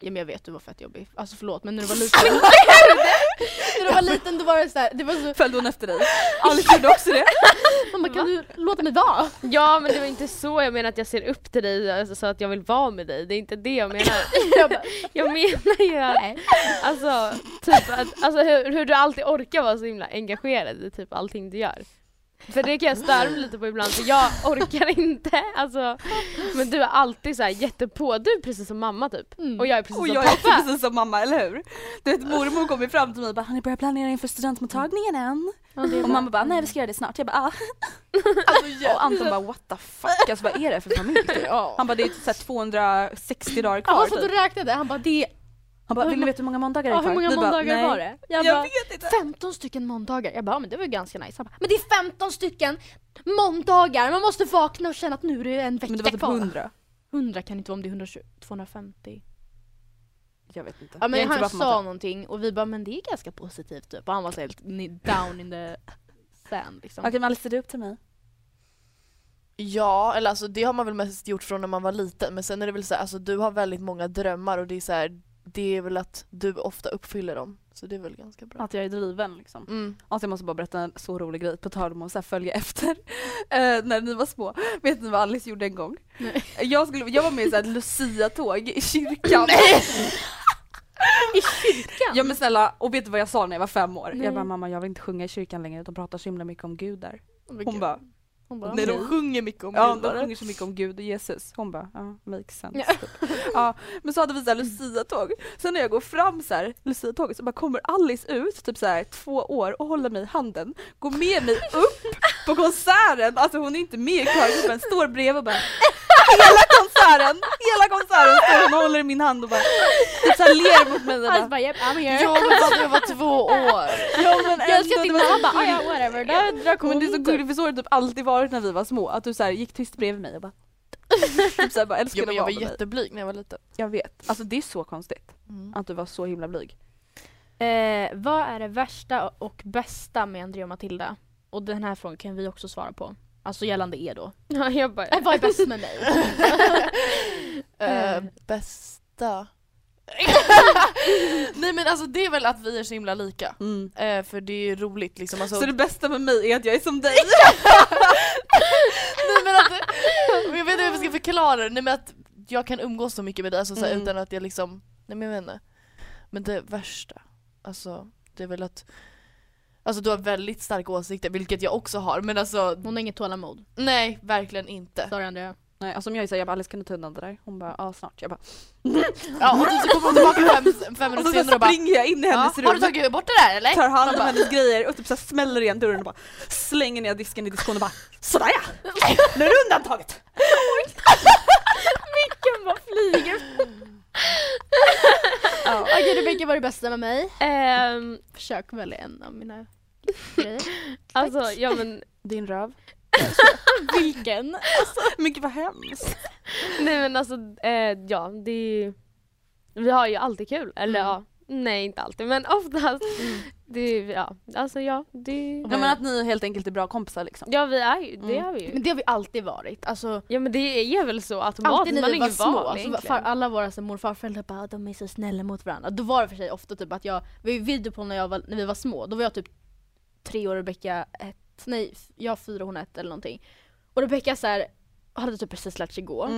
B: Ja men jag vet du var fett jobbig. Alltså förlåt men när du var liten. när du var liten då var det såhär. Det var så... Följde hon efter dig? Alice gjorde också det. Man bara, kan du låta mig vara?
D: Ja men det var inte så jag menar att jag ser upp till dig alltså, så att jag vill vara med dig. Det är inte det jag menar.
B: Jag, bara,
D: jag menar ju att, alltså, typ att, alltså hur, hur du alltid orkar vara så himla engagerad i typ allting du gör. För det kan jag störa mig lite på ibland för jag orkar inte. Alltså, men du är alltid så här jättepå. Du är precis som mamma typ.
B: Mm.
D: Och jag är precis
A: Och
D: som
A: jag är
D: pappa.
A: också precis som mamma, eller hur? Du vet mormor kom ju fram till mig och bara “Har ni börjat planera inför studentmottagningen än?”
B: det är
A: Och
B: bra.
A: mamma bara “Nej vi ska göra det snart”. Jag bara “Ah”. och Anton bara “What the fuck?” Alltså vad är det för familj?
B: Ja.
A: Han bara “Det är typ så här 260 dagar
B: Ja,
A: kvar”.
B: han satt
A: typ.
B: och räknade. Han bara det
A: Han bara “Vill ni veta hur många måndagar det är
B: Ja,
A: kvar?”
B: hur många
A: Vi bara,
B: måndagar
A: "Nej."
B: var det? Jag,
A: Jag
B: bara,
A: vet inte.
B: 15 stycken måndagar. Jag bara, ja, men det var ju ganska nice. Han bara, men det är 15 stycken måndagar! Man måste vakna och känna att nu är det en vecka
A: Men det var typ
B: kvar.
A: 100.
B: 100 kan inte vara om det är 120, 250.
A: Jag vet inte.
B: Ja men
A: Jag är inte
B: han
A: bra på matte.
B: sa någonting och vi bara, men det är ganska positivt typ. Och han var så helt ni- down in the sand liksom.
A: Okej men Alice, ser du upp till mig?
C: Ja, eller alltså det har man väl mest gjort från när man var liten men sen är det väl så här, alltså du har väldigt många drömmar och det är så här, det är väl att du ofta uppfyller dem. Så det är väl ganska bra.
A: Att jag är driven liksom.
C: Mm.
A: Alltså jag måste bara berätta en så rolig grej på tal om att så här följa efter. Eh, när ni var små, vet ni vad Alice gjorde en gång? Jag, skulle, jag var med i så här ett Lucia-tåg i kyrkan.
B: I kyrkan?
A: Ja men snälla, och vet du vad jag sa när jag var fem år?
B: Nej.
A: Jag bara mamma jag vill inte sjunga i kyrkan längre, de pratar så himla mycket om Gud där.
B: men
A: Hon
B: gud.
A: bara
B: Hon bara,
A: Nej,
B: "Okej."
A: ja, de sjunger så mycket om Gud och Jesus. Hon bara, ja, makes sense.
B: Ja. Mm.
A: Typ. Ja, men så hade vi så här Lucia-tåg. Sen när jag går fram så här, Lucia-tåget så bara kommer Alice ut, typ så här två år och håller mig i handen, går med mig upp på konserten, alltså hon är inte med i körgruppen, står bredvid och bara Hela konserten, hela konserten står hon och håller i min hand och bara typ så här ler mot mig och
B: Alice
A: Alltså, bara,
B: bara, yep, I'm here.
C: Ja men vadå, jag var två år.
A: Ja men
B: Jag
A: ändå,
B: älskar att
A: det
B: din
A: var så
B: mamma bara, "Ah,
A: gulligt."
B: ja whatever, där drack hon.
A: Men det är så
B: typ.
A: gulligt för så har det typ alltid varit när vi var små, att du så här gick tyst bredvid mig och bara typ så här, bara
C: Jo,
A: älskade
C: men
A: att
C: jag
A: vara
C: var
A: med mig.
C: jätteblyg när jag var liten. Mm.
A: Jag vet, alltså det är så konstigt att du var så himla blyg.
B: Eh, vad är det värsta och bästa med Andrea och Matilda? Och den här frågan kan vi också svara på. Alltså gällande er då.
D: Ja, jag bara,
B: Eh, vad är bäst med mig?
C: Eh, bästa? Nej men alltså det är väl att vi är så himla lika.
A: Mm.
C: Eh, för det är ju roligt liksom. Alltså,
A: Så det bästa med mig är att jag är som dig.
C: Nej, men att, och jag vet inte hur jag ska förklara det, nej, men att jag kan umgås så mycket med dig alltså, så här,
A: Mm.
C: utan att jag liksom, nej men jag vet inte. Men det värsta, alltså det är väl att Alltså du har väldigt starka åsikter, vilket jag också har men alltså
B: Hon har inget tålamod.
C: nej verkligen inte.
B: Sorry Andrea.
A: Nej, alltså om jag är såhär, jag bara Alice kan du ta undan det där? Hon bara ja snart. Jag bara
C: Ja, och typ så kommer hon tillbaka fem, fem
A: och
C: minuter
A: så, så
C: senare och bara
A: springer jag in i
C: ja,
A: hennes
C: Har du
A: rum,
C: tagit bort det där eller?
A: tar hand
C: Man
A: om
C: bara,
A: hennes grejer och typ så här smäller igen dörren och bara slänger ner disken i diskon och bara sådär ja! Nu är det undantaget!
B: Vilken bara flyger. Okej Rebecka, vad är det bästa med mig?
D: ehm,
B: Försök välja en av mina
D: alltså ja men
A: Din röv.
B: Vilken?
A: Men gud vad hemskt.
D: Nej men alltså, eh, ja det är ju, vi har ju alltid kul. Eller ja, nej inte alltid men oftast. Det, ja, alltså ja, det...
A: Ja, men att ni helt enkelt är bra kompisar liksom.
D: Ja vi är ju, det
A: Mm.
D: är vi ju.
A: Men
B: det har vi alltid varit. Alltså,
D: ja men det är väl så
B: Alltid
D: automatiskt,
B: när
D: man har
B: vi var
D: ingen
B: små,
D: val
B: alltså,
D: egentligen.
B: far, alla våra så, mor och farföräldrar bara "Ah, de är så snälla mot varandra. Då var det för sig ofta typ att jag, vi video på när, jag var, när vi var små, då var jag typ tre år och Rebecka ett, nej f- jag fyra och hon ett eller någonting. Och Rebecka så här, hade typ precis lärt sig gå.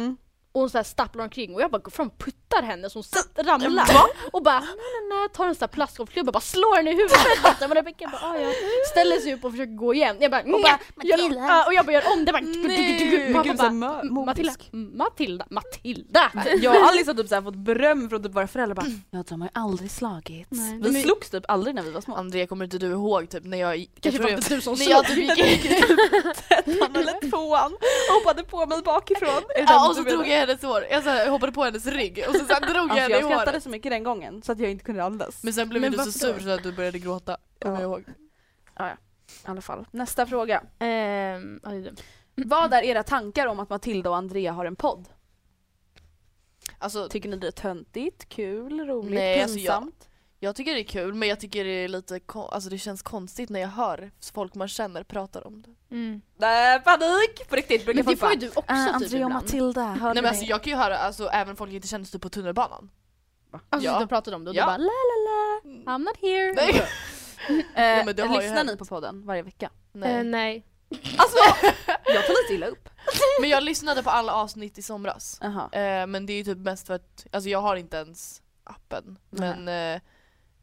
B: Och hon så här stapplar omkring och jag bara går fram och puttar henne så hon sitter, ramlar. och bara nej, nej, nej, tar en sån här plastgolfklubba och bara slår henne i huvudet. och Rebecka bara "Ah, ja. ställer sig upp och försöker gå igen. Jag bara, och, bara
A: Matilda.
B: Gör, Ja, och jag bara gör om det. Bara,
A: Nej,
B: Pappa
A: gud, så
B: bara,
A: här mö-
B: "M- Matilda,
A: mobisk."
B: M- Matilda, Matilda!
A: Jag och Alice har typ så här fått beröm från typ våra föräldrar bara Ja de har ju aldrig slagits.
C: Nej.
A: Vi
C: Men-
A: slogs typ aldrig när vi var små.
C: Andrea kommer inte du ihåg typ när jag...
A: Kanske
C: jag
A: var det
C: tror jag-
A: du som
C: när
A: slog.
C: jag typ gick in
A: Ettan eller tvåan och hoppade på mig bakifrån.
C: Ja, och så drog jag hennes hår, jag så här, hoppade på hennes rygg och så, så här, drog jag henne i
A: Alltså, Jag skrattade
C: håret.
A: så mycket den gången så att jag inte kunde andas.
C: Men sen blev
A: Men
C: du så
A: varför
C: sur
A: då?
C: så att du började gråta. Kommer jag ihåg.
A: Ja, ja. I alla fall. Nästa fråga.
B: Ehm, ja, det är det.
A: Vad är era tankar om att Matilda och Andrea har en podd?
C: Alltså,
A: Tycker ni det är töntigt, kul, roligt,
C: Nej, alltså
A: pinsamt?
C: jag, jag tycker det är kul men jag tycker det är lite kon- alltså det känns konstigt när jag hör folk man känner pratar om det.
B: Mm.
A: Nej, panik! På riktigt brukar
C: Men
A: folk
C: det får ju
A: bara,
C: du också
A: "Ah,
C: typ
A: Andrea och
C: ibland."
A: Matilda, hörde
C: Nej
A: ni
C: men alltså jag kan ju höra alltså, även folk jag inte känner typ på tunnelbanan.
B: Alltså
C: Ja.
B: de pratade om det och
C: Ja.
B: du bara la la la, I'm not here.
C: Nej.
A: Eh,
C: Jo, men det har ju
A: lyssnar
C: hänt.
A: ni på podden varje vecka?
C: Nej. Eh,
D: nej.
A: Alltså, jag tar lite illa upp.
C: Men jag lyssnade på alla avsnitt i somras.
A: Aha.
C: Eh, men det är ju typ mest för att, alltså jag har inte ens appen.
A: Nej.
C: Men eh,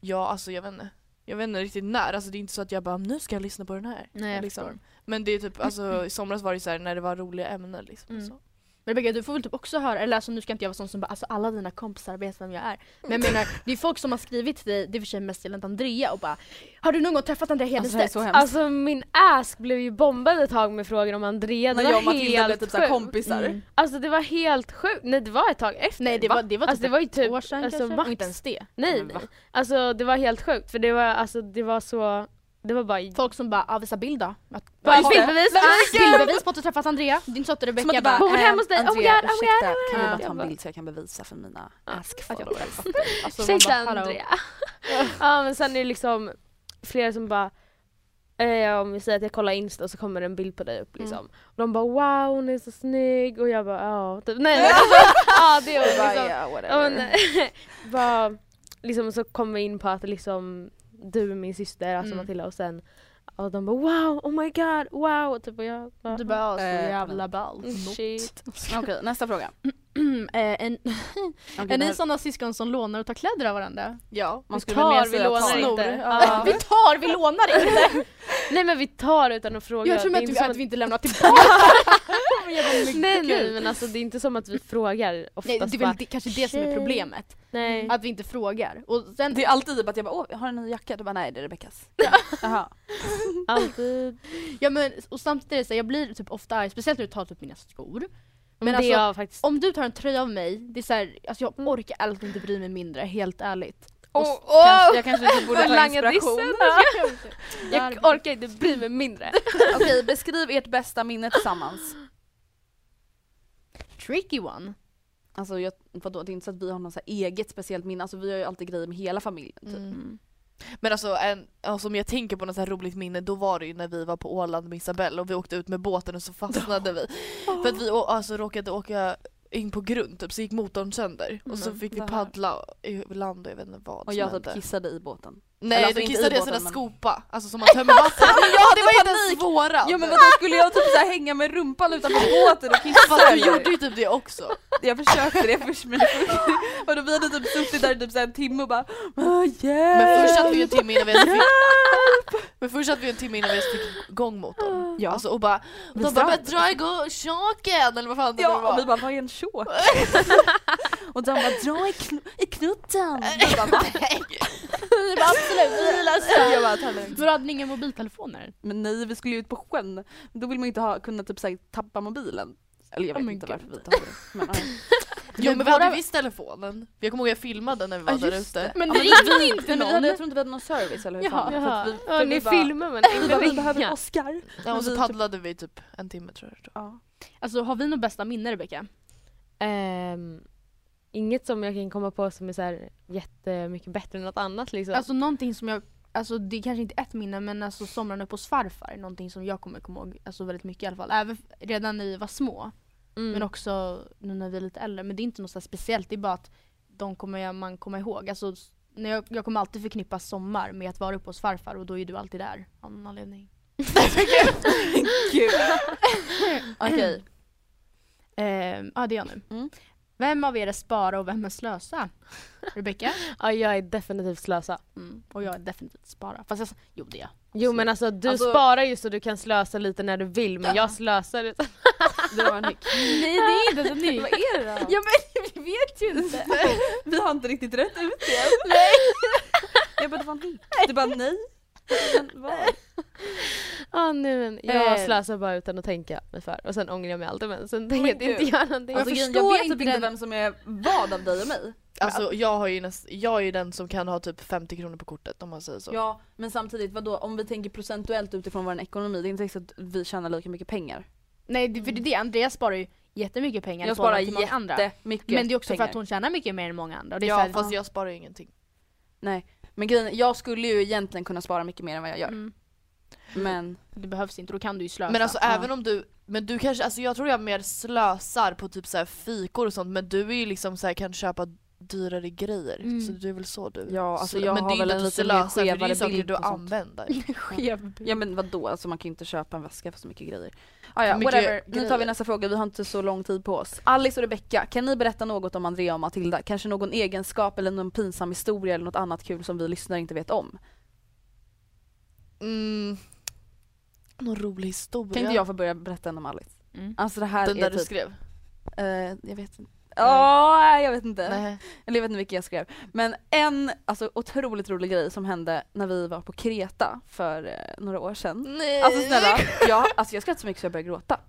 C: ja, alltså jag vet inte. Jag vet inte riktigt när, alltså det är inte så att jag bara nu ska jag lyssna på den här.
B: Nej, jag
C: liksom.
B: förstår.
C: Men det är typ, alltså i somras var det så här när det var roliga ämnen liksom.
B: Mm.
C: Så.
B: Men Rebecca du får väl typ också höra, eller alltså nu ska inte jag vara sån som bara alltså alla dina kompisar vet vem jag är. Men jag menar, det är folk som har skrivit till dig, det är för sig mest gällande Andrea och bara Har du någon gång träffat Andrea Hedenstedt?
D: Alltså min ass blev ju bombad ett tag med frågor om Andrea,
A: När
D: det
A: jag
D: var
A: och Matilda blev
D: helt
A: typ så här
D: sjukt.
A: kompisar. Mm.
D: Alltså det var helt sjukt, nej det var ett tag efter
B: Nej, det var- det var typ
D: alltså, det var ju
B: ett
D: typ
B: år sedan
D: alltså,
B: kanske?
D: max.
B: Inte ens det.
D: Nej,
B: Men
D: nej.
B: va?
D: Alltså det var helt sjukt för det var alltså det var så, det var bara
B: Folk som bara, ah, visa bild då. Att,
D: Bara, bildbevis!
B: Ah,
D: Ah,
B: Bildbevis på att du träffat Andrea. Det är inte så att Rebecca bara,
D: Bor hemma hos dig?
A: Andrea,
D: Oh my god, oh my
A: ursäkta,
D: god, oh my
A: kan du bara
D: god.
A: ta en
D: Jag
A: bild så jag kan bevisa för mina ask
D: att jag
A: followers? Alltså, man
D: Ursäkta
A: bara, "Hallå."
D: Andrea. ja men sen är det liksom flera som bara eh, om vi säger att jag kollar Insta så kommer det en bild på dig upp liksom.
B: Mm.
D: Och de bara wow hon är så snygg och jag bara ja. Typ, nej men alltså, ja det är hon
A: Bara,
D: liksom.
A: "Yeah, whatever."
D: Ja, men, bara, liksom så kom vi in på att liksom du är min syster, alltså
B: Mm.
D: Matilda och sen och de bara wow, oh my god, wow! Typ, och jag bara,
B: Du bara, "Ah, så
D: eh,
B: jävla ballt."
D: Mm,
B: Not.
D: Shit.
A: Okej, nästa fråga.
B: eh, en,
A: det
B: är ni
A: här-
B: sådana syskon som lånar och tar kläder av varandra?
C: Ja,
D: man skulle mer säga att man snor. Ja.
B: Vi tar, vi lånar inte!
D: Nej men vi tar utan att fråga.
B: Jag tror
D: Det är
B: att,
D: inte
B: vi,
D: som
B: att vi inte lämnar tillbaka!
D: nej nej men alltså det är inte som att vi frågar oftast
B: Nej, det är
D: bara,
B: väl det, kanske det som är
D: "Tjej."
B: problemet.
D: Nej.
B: Att vi inte frågar. Och sen,
A: Det är alltid typ att jag bara åh, jag har en ny jacka? Du bara nej det är Rebeckas. Jaha.
D: Alltid.
B: Ja men och samtidigt så här, jag blir typ ofta arg, speciellt när du tar typ mina skor.
D: Men det
B: alltså-
D: är jag faktiskt-
B: om du tar en tröja av mig, det är så här, alltså jag orkar ärligt inte bry mig mindre, helt ärligt.
D: Åh,
B: Och s-
D: åh!
B: kanske- jag kanske inte borde ta
D: Langa
B: inspiration.
D: dissen,
B: Jag
D: Jag orkar inte bry mig mindre.
A: Okej, beskriv ert bästa minne tillsammans.
B: Tricky one.
A: Alltså jag, vadå, det är inte så att vi har något så här eget speciellt minne, alltså vi har ju alltid grejer med hela familjen typ.
B: Mm.
C: Men alltså, en, alltså om jag tänker på något så här roligt minne då var det ju när vi var på Åland med Isabelle och vi åkte ut med båten och så fastnade vi. För att vi å- alltså, råkade åka in på grund typ, så gick motorn sönder och så
A: Mm.
C: fick vi
A: Det här.
C: paddla i land och jag vet inte vad
A: Och
C: som
A: jag
C: hände.
A: typ kissade i båten.
C: Nej
A: Eller alltså
C: du
A: inte
C: kissade i en
A: båten,
C: sån där
A: men-
C: skopa, alltså som man tömmer vatten
A: Ja, men jag
C: Det
A: hade
C: var ju den
A: panik.
C: svåra!
A: Ja men vadå skulle jag typ så här hänga med rumpan utanför båten och kissa
C: Fast du
A: eller?
C: gjorde ju typ det också.
A: Jag försökte det först men och då vi hade typ suttit där i typ så här en timme och bara "Ah, hjälp!
C: Men först satt vi ju en timme innan vi ens fick-
A: Hjälp!
C: Men först satt vi en timme innan vi ens fick igång motorn.
A: Ja.
C: Alltså, och bara, och
A: Vi
C: de bara
A: satt.
C: 'men dra igång tjaken' eller vad fan det nu
A: Ja
C: var.
A: och vi bara vad är en tjock? och de bara dra i, kn- i knutten! Vi bara, "Va?"
B: Vi bara, absolut, vi gillar
A: Jag bara, "Ta lugnt."
B: Men hade ni inga mobiltelefoner?
A: Men nej vi skulle ju ut på sjön, då vill man ju inte ha, kunna typ så här, tappa mobilen. Eller jag
B: Oh
A: vet
B: my
A: inte
B: God.
A: varför vi tar det. Men, ja.
C: Jo men vi
A: våra-
C: hade visst telefonen. Jag kommer ihåg jag filmade när vi var
A: Ja,
C: där
A: just
C: ute.
A: det. Ja, vi- nej, men vi hade- Jag tror inte vi hade någon service eller hur
B: Jaha,
A: fan det var, för att
B: jaha.
A: vi-
D: Ja,
A: för
D: ni
A: vi bara-
D: filmar men
A: vi
D: inte
A: bara, vi behöver
D: ringa.
A: Oscar.
C: Ja, och
A: Men
C: så
A: vi-
C: paddlade vi typ en timme tror jag.
A: Ja.
B: Alltså har vi något bästa minne Rebecka?
D: Ehm, inget som jag kan komma på som är så här jättemycket bättre än något annat liksom.
B: Alltså någonting som jag alltså det är kanske inte ett minne men alltså somraren uppe hos farfar, någonting som jag kommer komma ihåg alltså väldigt mycket i alla fall. Även f- redan när vi var små.
D: Mm.
B: Men också nu när vi är lite äldre. Men det är inte något så här speciellt, det är bara att de kommer jag- man komma ihåg. Alltså, s- när jag, jag kommer alltid förknippa sommar med att vara uppe hos farfar och då är du alltid där av någon anledning.
A: Gud.
B: Okej. Ehm, Ja det är jag nu. Vem av er är spara och vem är slösa? Rebecka?
D: ja jag är definitivt slösa.
B: Och jag är definitivt spara. Fast jag, s- jo det är jag.
D: Jo men alltså du
B: Alltså-
D: sparar ju så du kan slösa lite när du vill men jag slösar utan...
A: Det var en nick.
B: Nej det är inte ens en ny.
A: Vad är det då?
B: Ja men vi vet ju inte.
A: Vi har inte riktigt rätt ut det än.
B: Nej.
A: Jag bara, det var en nick. Du bara, nej. Men vad?
D: Ja nej men jag
A: Eh.
D: slösar bara utan att tänka mig för och sen ångrar jag mig alltid men sen
A: Men
D: tänker jag inte
A: gud.
D: göra någonting.
A: Alltså,
D: jag
A: grejen,
D: förstår
A: jag vet typ
D: inte
A: inte
D: den.
A: vem som är vad av dig och mig.
C: Alltså jag, har ju näst, jag är ju den som kan ha typ 50 kronor på kortet om man säger så.
A: Ja men samtidigt vadå om vi tänker procentuellt utifrån vår ekonomi det är inte säkert att vi tjänar lika mycket pengar.
B: Nej det- för det är det, Andreas sparar ju jättemycket pengar. i
A: Jag sparar
B: förhållande till många andra.
A: jättemycket
B: Men det är också för
A: pengar.
B: att hon tjänar mycket mer än många andra. Och det är så
C: ja
B: här,
C: fast jag sparar ju ingenting.
A: Nej men grejen är, jag skulle ju egentligen kunna spara mycket mer än vad jag gör.
B: Mm.
A: Men
B: Det behövs inte, då kan du ju slösa.
C: Men alltså även om du, men du kanske, alltså jag tror jag mer slösar på typ så här fikor och sånt men du är ju liksom så här, kan köpa dyrare grejer.
B: Mm.
C: Så det är väl så du
A: Ja, alltså,
C: slö-
A: jag
C: Men
A: har
C: det är ju
A: väl
C: inte
A: en
C: att
A: lite mer
C: slösa för det är ju
A: skevare
C: saker
A: bild
C: du
A: på sånt.
C: använder.
B: Skev
A: ja men vadå alltså man kan ju inte köpa en väska för så mycket grejer. Ah, ja,
C: Mycket
A: whatever. Nu tar vi
C: grejer.
A: nästa fråga, vi har inte så lång tid på oss. Alice och Rebecca, kan ni berätta något om Andrea och Matilda? Kanske någon egenskap eller någon pinsam historia eller något annat kul som vi lyssnare inte vet om?
C: Mm. Någon rolig historia.
A: Kan inte jag få börja berätta en om Alice?
B: Mm.
A: Alltså det här
C: Den
A: är
C: där
A: typ...
C: du skrev?
A: Eh, jag vet inte. Ja, jag vet inte.
C: Nej.
A: Eller jag vet inte vilken jag skrev. Men en alltså, otroligt rolig grej som hände när vi var på Kreta för eh, några år sedan.
C: Nej.
A: Alltså snälla, jag, alltså, jag skrattade så mycket så jag började gråta.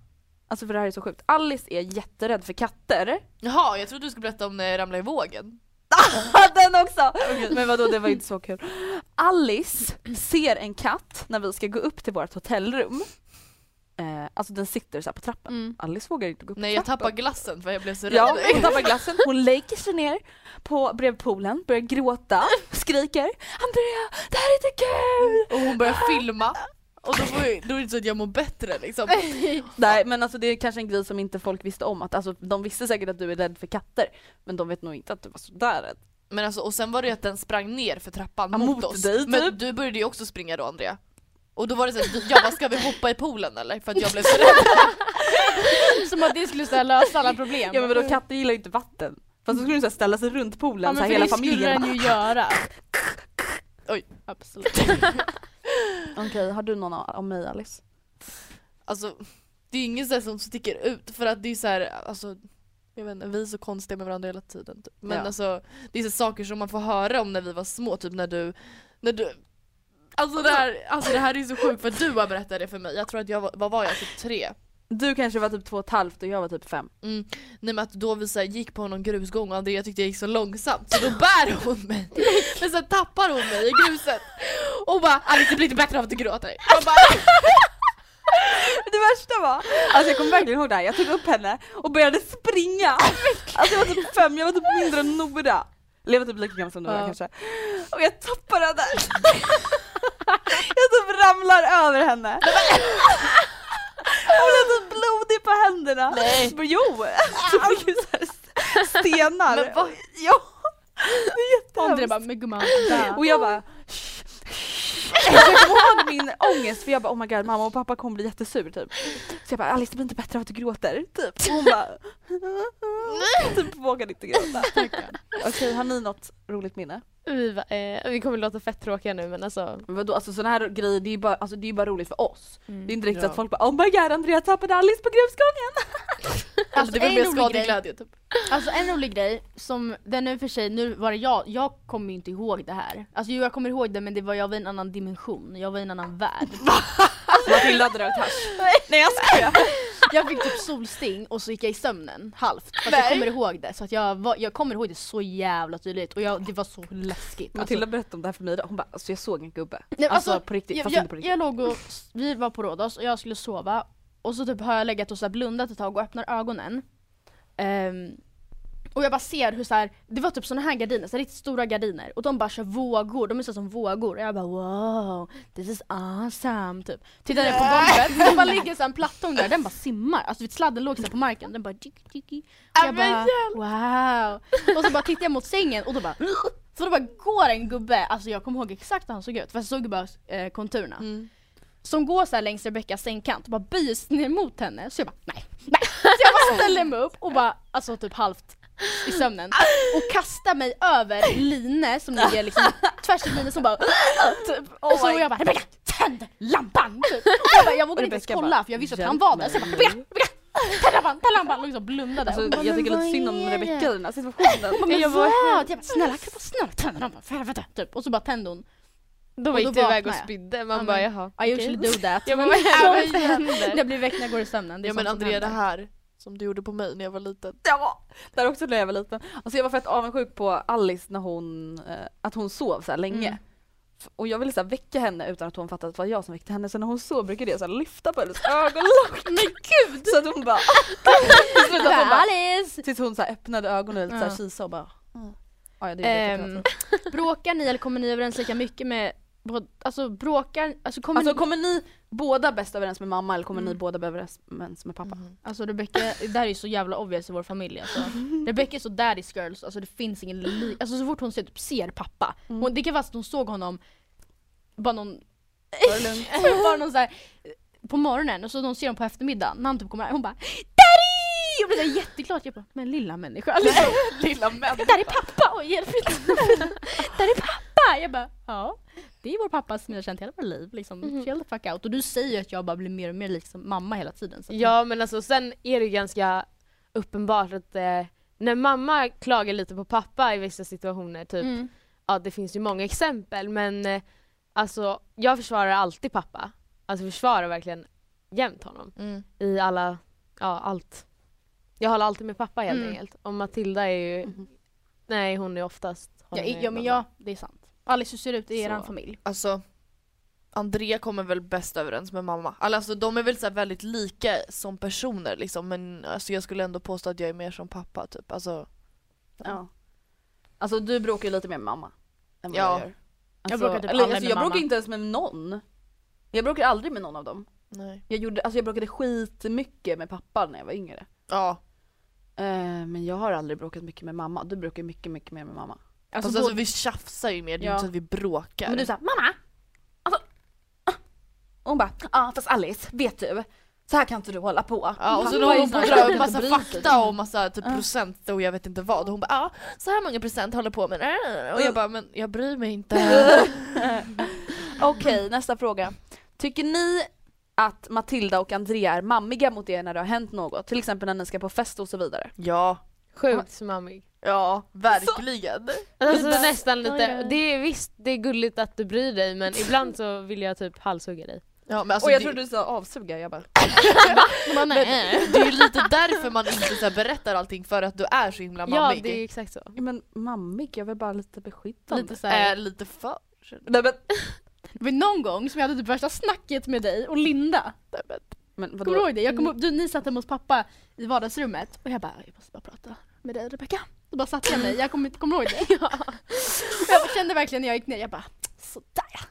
A: Alltså för det här är så sjukt. Alice är jätterädd för katter.
C: Jaha, jag trodde du skulle berätta om när jag ramlade i vågen.
A: Den också! Men vadå, det var inte så kul. Alice ser en katt när vi ska gå upp till vårt hotellrum. Eh, alltså den sitter så här på trappen. Alice vågar inte gå upp
C: Mm. Nej
A: på
C: jag
A: trappen.
C: tappade glassen för jag blev så rädd.
A: Ja, hon tappar glassen. Hon lägger sig ner på, bredvid poolen, börjar gråta, skriker Andrea, det här är inte kul!
C: Och hon börjar filma. Och då, får jag, då är det inte så att jag mår bättre liksom.
A: Nej men alltså det är kanske en grej som inte folk visste om att alltså, de visste säkert att du är rädd för katter men de vet nog inte att du var sådär rädd.
C: Men alltså, och sen var det ju att den sprang ner för trappan
A: Ja,
C: mot,
A: mot
C: oss.
A: dig,
C: Men
A: typ.
C: du började ju också springa då Andrea. Och då var det så att jag bara, ska vi hoppa i poolen eller? För att jag blev så rädd.
B: Alltså, Som att det skulle så här lösa alla problem.
A: Ja men vadå katter gillar ju inte vatten. Fast då skulle du så här ställa sig runt poolen
B: Ja, men
A: så här,
B: för
A: hela
B: det skulle
A: familjen.
B: den ju göra.
C: Oj.
B: Absolut.
A: Okej, har du någon om mig Alice?
C: Alltså, det är ju ingen så här som sticker ut för att det är ju så här, alltså jag vet inte, vi är så konstiga med varandra hela tiden. Typ. Men
A: Ja.
C: alltså, det är så saker som man får höra om när vi var små, typ när du, när du Alltså det, här, alltså det här är ju så sjukt för du har berättat det för mig, jag tror att jag var, vad var jag, typ tre?
A: Du kanske var typ två och ett halvt och jag var typ fem.
C: Mm. Nej men att då vi så här, gick på någon grusgång och Andrea tyckte jag gick så långsamt så då bär hon mig Men sen tappar hon mig i gruset och bara Alice det blir inte bättre av att du gråter Jag bara,
A: Det värsta var, alltså jag kommer verkligen ihåg det här, jag tog upp henne och började springa. Alltså jag var typ fem, jag var typ mindre än Nora. Eller jag var typ lika gammal som Nora
C: Ja.
A: kanske. Och jag tappar henne. Jag typ ramlar över henne. Hon är typ blodig på händerna.
C: Nej.
A: Men Jo! Så fick ju så här stenar.
C: Men vad-
A: Ja! Det är
B: Andra
A: jättehemskt.
B: bara, men gumman.
A: Och jag bara jag kommer ihåg min ångest för jag bara oh my god mamma och pappa kommer bli jättesur typ. Så jag bara Alice det blir inte bättre av att du gråter. Typ. Och hon bara typ vågade inte gråta. Okej har ni något roligt minne?
D: Vi, va- eh, vi kommer låta fett tråkiga nu men alltså.
A: Men vadå alltså sådana här grejer det är ju bara, alltså, det är ju bara roligt för oss.
B: Mm.
A: Det är inte riktigt
C: Ja.
A: att folk bara oh my god Andrea tappade Alice på grusgången.
C: alltså, det var
B: en
C: mer
B: rolig
C: skadeglädje typ
B: Alltså en rolig grej som, den är för sig, nu var det jag, jag kommer ju inte ihåg det här. Alltså jo, jag kommer ihåg det men det var, jag var i en annan dimension, jag var i en annan värld.
A: Matilda hade rökt hasch. Nej jag skojar.
B: Jag fick typ solsting och så gick jag i sömnen, halvt. Fast jag
C: Nej.
B: kommer ihåg det, så att jag, var, jag kommer ihåg det så jävla tydligt och jag, det var så läskigt. Alltså,
A: Matilda berättade om det här för mig idag. Hon bara alltså jag såg en gubbe.
B: Nej, men
A: alltså, på riktigt
B: jag,
A: fast
B: jag,
A: inte på riktigt.
B: jag låg och, vi var på Rhodos och jag skulle sova och så typ har jag legat och så här blundat ett tag och öppnar ögonen. Ehm, Och jag bara ser hur så här, det var typ såna här gardiner, så här riktigt stora gardiner. Och de bara kör vågor, de är så som vågor. Och jag bara wow, this is awesome typ. Tittar ner på golvet, det bara ligger så här en plattång där, den bara simmar. Alltså vet, sladden låg så här på marken, den bara tiki tiki. Och jag bara wow. Och så bara tittar jag mot sängen och då bara så då bara går en gubbe, alltså jag kommer ihåg exakt hur han såg ut, för jag såg ju bara eh, konturerna.
A: Mm.
B: Som går så här längs Rebeckas sängkant och bara böjer sig ner mot henne, så jag bara nej, nej. Så jag bara ställer mig upp och bara, alltså typ halvt i sömnen och kastar mig över Line som ligger liksom tvärs i Line som bara typ.
A: oh
B: Och så jag bara Rebecka, tänd lampan! Typ. Och jag, bara, jag vågade inte ens
A: Rebecca
B: kolla
A: bara,
B: för jag visste att han
A: "Hjälp
B: var där så jag bara
A: mig."
B: Rebecka, Rebecka, tänd lampan, tänd lampan! Och liksom blundade.
A: Alltså,
B: Och bara,
A: jag
B: "Men
A: tycker lite
B: vad
A: synd om
B: är
A: Rebecka
B: det?"
A: i den här situationen.
B: Hon bara, men
A: Jag
B: jag
A: bara,
B: vad? Jag bara snälla, kan jag bara snälla tända lampan för helvete? Typ. Och så bara tände hon.
D: Då gick du iväg och spydde, man bara, jaha,
B: I
D: okej.
B: usually do that.
D: Ja, men
B: Men
D: vad händer?
B: sånt
D: Vad händer?
B: Jag blir väckt när jag går i sömnen. Det är
C: Ja men
B: sånt som
C: Andrea det
B: händer.
C: här som du gjorde på mig när jag var liten.
A: Ja! Där också när jag var liten. Alltså jag var fett avundsjuk på Alice när hon, eh, att hon sov så här länge.
B: Mm.
A: F- Och jag ville så här väcka henne utan att hon fattade att det var jag som väckte henne. Så när hon sov brukade jag så här lyfta på hennes ögonlock.
B: Men gud!
A: Så att hon bara... Till slut att hon bara- Tills hon så här öppnade ögonen och lite så här
B: Ja.
A: kisade och bara... Ja, ja, det är det jag typ
B: Ehm, bråkar ni eller kommer ni överens lika mycket med bro- Alltså bråkar, alltså kommer
A: Alltså
B: ni...
A: kommer ni båda bäst överens med mamma eller kommer ni
B: Mm.
A: båda överens med pappa?
B: Alltså Rebecca, det här är ju så jävla obvious i vår familj alltså. Rebecca är så daddy's girls, alltså det finns ingen li- Alltså så fort hon ser, typ, ser pappa, hon, det kan vara att hon såg honom bara någon... Typ bara någon så här, på morgonen och så de ser honom på eftermiddagen när han typ kommer här, hon bara Daddy! Jag blir så här jätteglad, jag bara men lilla människa liksom.
A: lilla människa.
B: Där är pappa! Oj hjälp! Där är pappa! Jag bara ja. Det är vår pappa som jag har känt hela mitt liv liksom. Chill the fuck out. Och du säger ju att jag bara blir mer och mer liksom mamma hela tiden. Så att-
D: Ja men alltså sen är det ju ganska uppenbart att eh, när mamma klagar lite på pappa i vissa situationer, typ,
B: Mm.
D: ja det finns ju många exempel men eh, alltså jag försvarar alltid pappa. Alltså försvarar verkligen jämt honom.
C: Mm.
D: I alla, ja allt. Jag håller alltid med pappa helt
B: Mm. Mhm.
D: enkelt. Och Matilda är ju, nej hon är oftast hon
B: Ja,
D: är
B: ja men
D: mamma.
B: ja, det är sant. Alice hur ser det ut i eran
C: Så.
B: familj?
C: Alltså Andrea kommer väl bäst överens med mamma. Alltså de är väl så här väldigt lika som personer liksom men alltså, jag skulle ändå påstå att jag är mer som pappa typ. Alltså,
A: Ja. Alltså du bråkar ju lite mer med mamma. Än vad
C: Ja.
A: jag gör.
C: Jag
A: Alltså,
C: bråkar typ
A: eller,
C: aldrig
A: alltså,
C: med
A: Jag bråkar
C: mamma.
A: inte ens med någon. Jag bråkar aldrig med någon av dem.
C: nej.
A: Jag, gjorde, alltså, jag bråkade skitmycket med pappa när jag var yngre.
C: Ja.
A: Eh, men jag har aldrig bråkat mycket med mamma. Du bråkar mycket, mycket mer med mamma.
C: Alltså, alltså, vi tjafsar ju mer, det är
A: Ja.
C: inte så att vi bråkar.
A: Men du sa mamma! Alltså, ah." och hon bara, ja ah, fast Alice, vet du? Så här kan inte du hålla på.
C: Ja, och så då
A: Pappa är
C: håller hon på och
A: snarare
C: drar upp
A: den
C: massa
A: som bryr sig.
C: fakta och massa typ,
A: Ja.
C: procent och jag vet inte vad. Och hon bara ah, så här många procent håller på med det." Och jag bara men jag bryr mig inte.
A: Okej, nästa fråga. Tycker ni att Matilda och Andrea är mammiga mot er när det har hänt något? Till exempel när ni ska på fest och så vidare. Alltså,
C: Ja.
D: Sjukt mammig.
C: Ja, verkligen.
D: Alltså
C: Lite-
D: nästan lite,
C: Oj,
D: det är visst det är gulligt att du bryr dig men ibland så vill jag typ halshugga dig.
C: Ja, men alltså,
A: och jag
C: det-
A: trodde du sa avsuga, jag bara...
B: Man
C: Men det är ju lite därför man inte så här, berättar allting för att du är så himla mammig.
D: Ja det är exakt så.
A: Ja, Men mammig, jag vill bara lite beskyddande.
B: Lite så här-
C: Eh, lite för.
A: Nej, men,
B: Det var någon gång som jag hade typ värsta snacket med dig och Linda.
A: men
B: Kommer du
A: vadå?
B: ihåg det? Jag kom upp, du, ni satt hemma hos pappa i vardagsrummet och jag bara jag måste bara prata med dig Rebecka. Så bara satte jag mig, jag kommer inte komma ihåg det. Ja. Och jag kände verkligen när jag gick ner, jag bara sådär ja.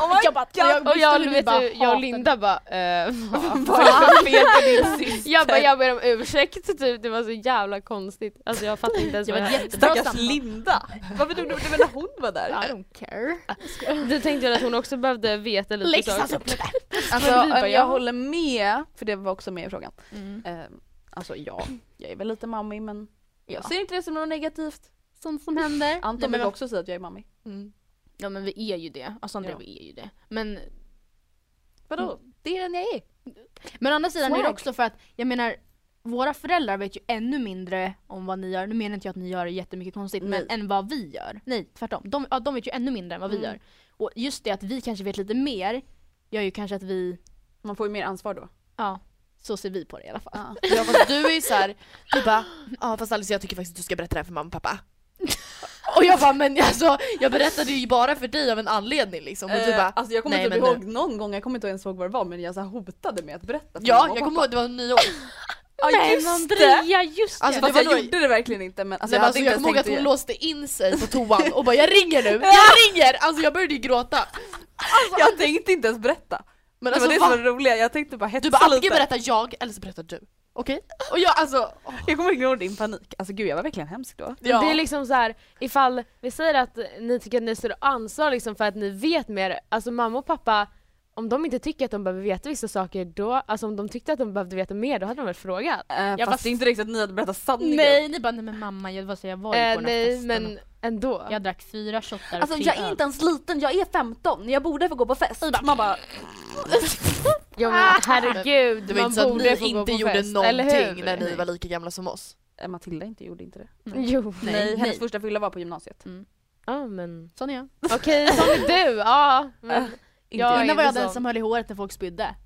A: Oh my
B: jag bara,
A: God.
D: Och jag,
B: visste hur ni
D: vet
B: bara
D: du, jag och
B: hatade-
D: Linda bara eh,
A: Vad är det för fel på din syster?
D: Jag bara, jag ber om ursäkt typ, det var så jävla konstigt. Alltså jag fattar inte ens
B: Det var
D: vad
B: ett
D: jag...
B: jättebra
A: Stackars
B: samtal.
A: Linda! Varför trodde du det när hon var
B: I
A: där?
B: don't care.
D: Du tänkte väl att hon också behövde veta lite
B: Läxas
D: saker?
B: upp lite.
A: Alltså,
D: Men vi bara,
A: eh,
D: ja.
A: jag håller med, för det var också med i frågan.
B: Mm.
A: Eh, Alltså ja, jag är väl lite mammig men jag ser inte det som något negativt.
B: Sånt som händer.
A: Anton
B: Nej, men
A: vill också säga att jag är mammig.
C: Mm.
B: Ja men vi är ju det. Alltså Andrea
A: Ja.
B: vi är ju det. Men,
A: Vadå? Mm. Det är den jag är.
B: men å andra sidan är det
A: Swag.
B: också för att jag menar våra föräldrar vet ju ännu mindre om vad ni gör. Nu menar inte jag att ni gör jättemycket konstigt men än vad vi gör. Nej tvärtom. De, ja, de vet ju ännu mindre än vad vi
A: Mm.
B: gör. Och just det att vi kanske vet lite mer gör ju kanske att vi,
A: Man får ju mer ansvar då.
B: ja så ser vi på det i alla fall.
C: Ja, fast du är ju såhär, du bara ja fast Alice jag tycker faktiskt att du ska berätta det här för mamma och pappa. Och jag bara men alltså jag berättade ju bara för dig av en anledning liksom och du
A: Eh,
C: bara
A: alltså jag kommer
C: "Nej,
A: inte
C: men
A: ihåg någon gång, jag kommer inte ens ihåg vad det var men jag så här hotade med att berätta för
C: Ja,
A: mamma och "Ah,
C: jag kommer
A: pappa.
C: ihåg det var nyår. Alltså,
A: Ja
B: Men
A: just
B: Andrea,
A: det!
B: just det!
A: Alltså fast jag gjorde det verkligen inte men alltså,
C: Nej,
A: jag
C: men
A: hade
C: alltså,
A: inte
C: jag
A: ens
C: kommer ihåg
A: tänkt
C: att
A: att
C: hon
A: göra-
C: låste in sig på toan och bara jag ringer nu, jag ringer! Alltså jag började ju gråta.
A: Jag tänkte inte ens berätta. Men
C: alltså,
A: det var det
C: va?
A: som var det roliga, jag tänkte bara hetsa
C: Du bara
A: lite.
C: antingen berättar jag eller så berättar du. Okej?
A: Och jag alltså, jag kommer ihåg din panik. Alltså gud jag var verkligen hemsk då.
D: Men Det är liksom så här, ifall vi säger att ni tycker att ni står ansvar liksom för att ni vet mer, alltså mamma och pappa om de inte tycker att de behöver veta vissa saker då, alltså om de tyckte att de behövde veta mer då hade de väl frågat?
A: jag Eh, fast det är inte riktigt att ni hade berättat sanningen.
B: Nej, ni bara nej men mamma jag, vad säger jag var ju på
D: Eh,
B: den här
D: nej
B: festen.
D: men ändå.
B: Jag drack fyra shottar och
G: Alltså
B: tre
G: jag är
B: öl.
G: inte ens liten, jag är 15, jag borde få gå på fest. Man bara...
D: Ja men herregud,
C: Det var
D: man
C: inte så att
D: borde
C: ni
D: få gå
C: inte
D: på
C: gjorde
D: fest, eller hur?
C: någonting när ni var lika gamla som oss.
A: Eh, Matilda inte gjorde inte det.
D: Nej. Jo.
A: Nej,
D: Nej,
A: hennes
D: nej.
A: första fylla var på gymnasiet.
D: Ja men
B: Sån är jag.
D: okej, sån är du, ja.
A: Äh,
D: Men,
A: inte
B: Ja, innan var jag
D: inte
B: den
D: sån.
B: som höll i håret när folk spydde.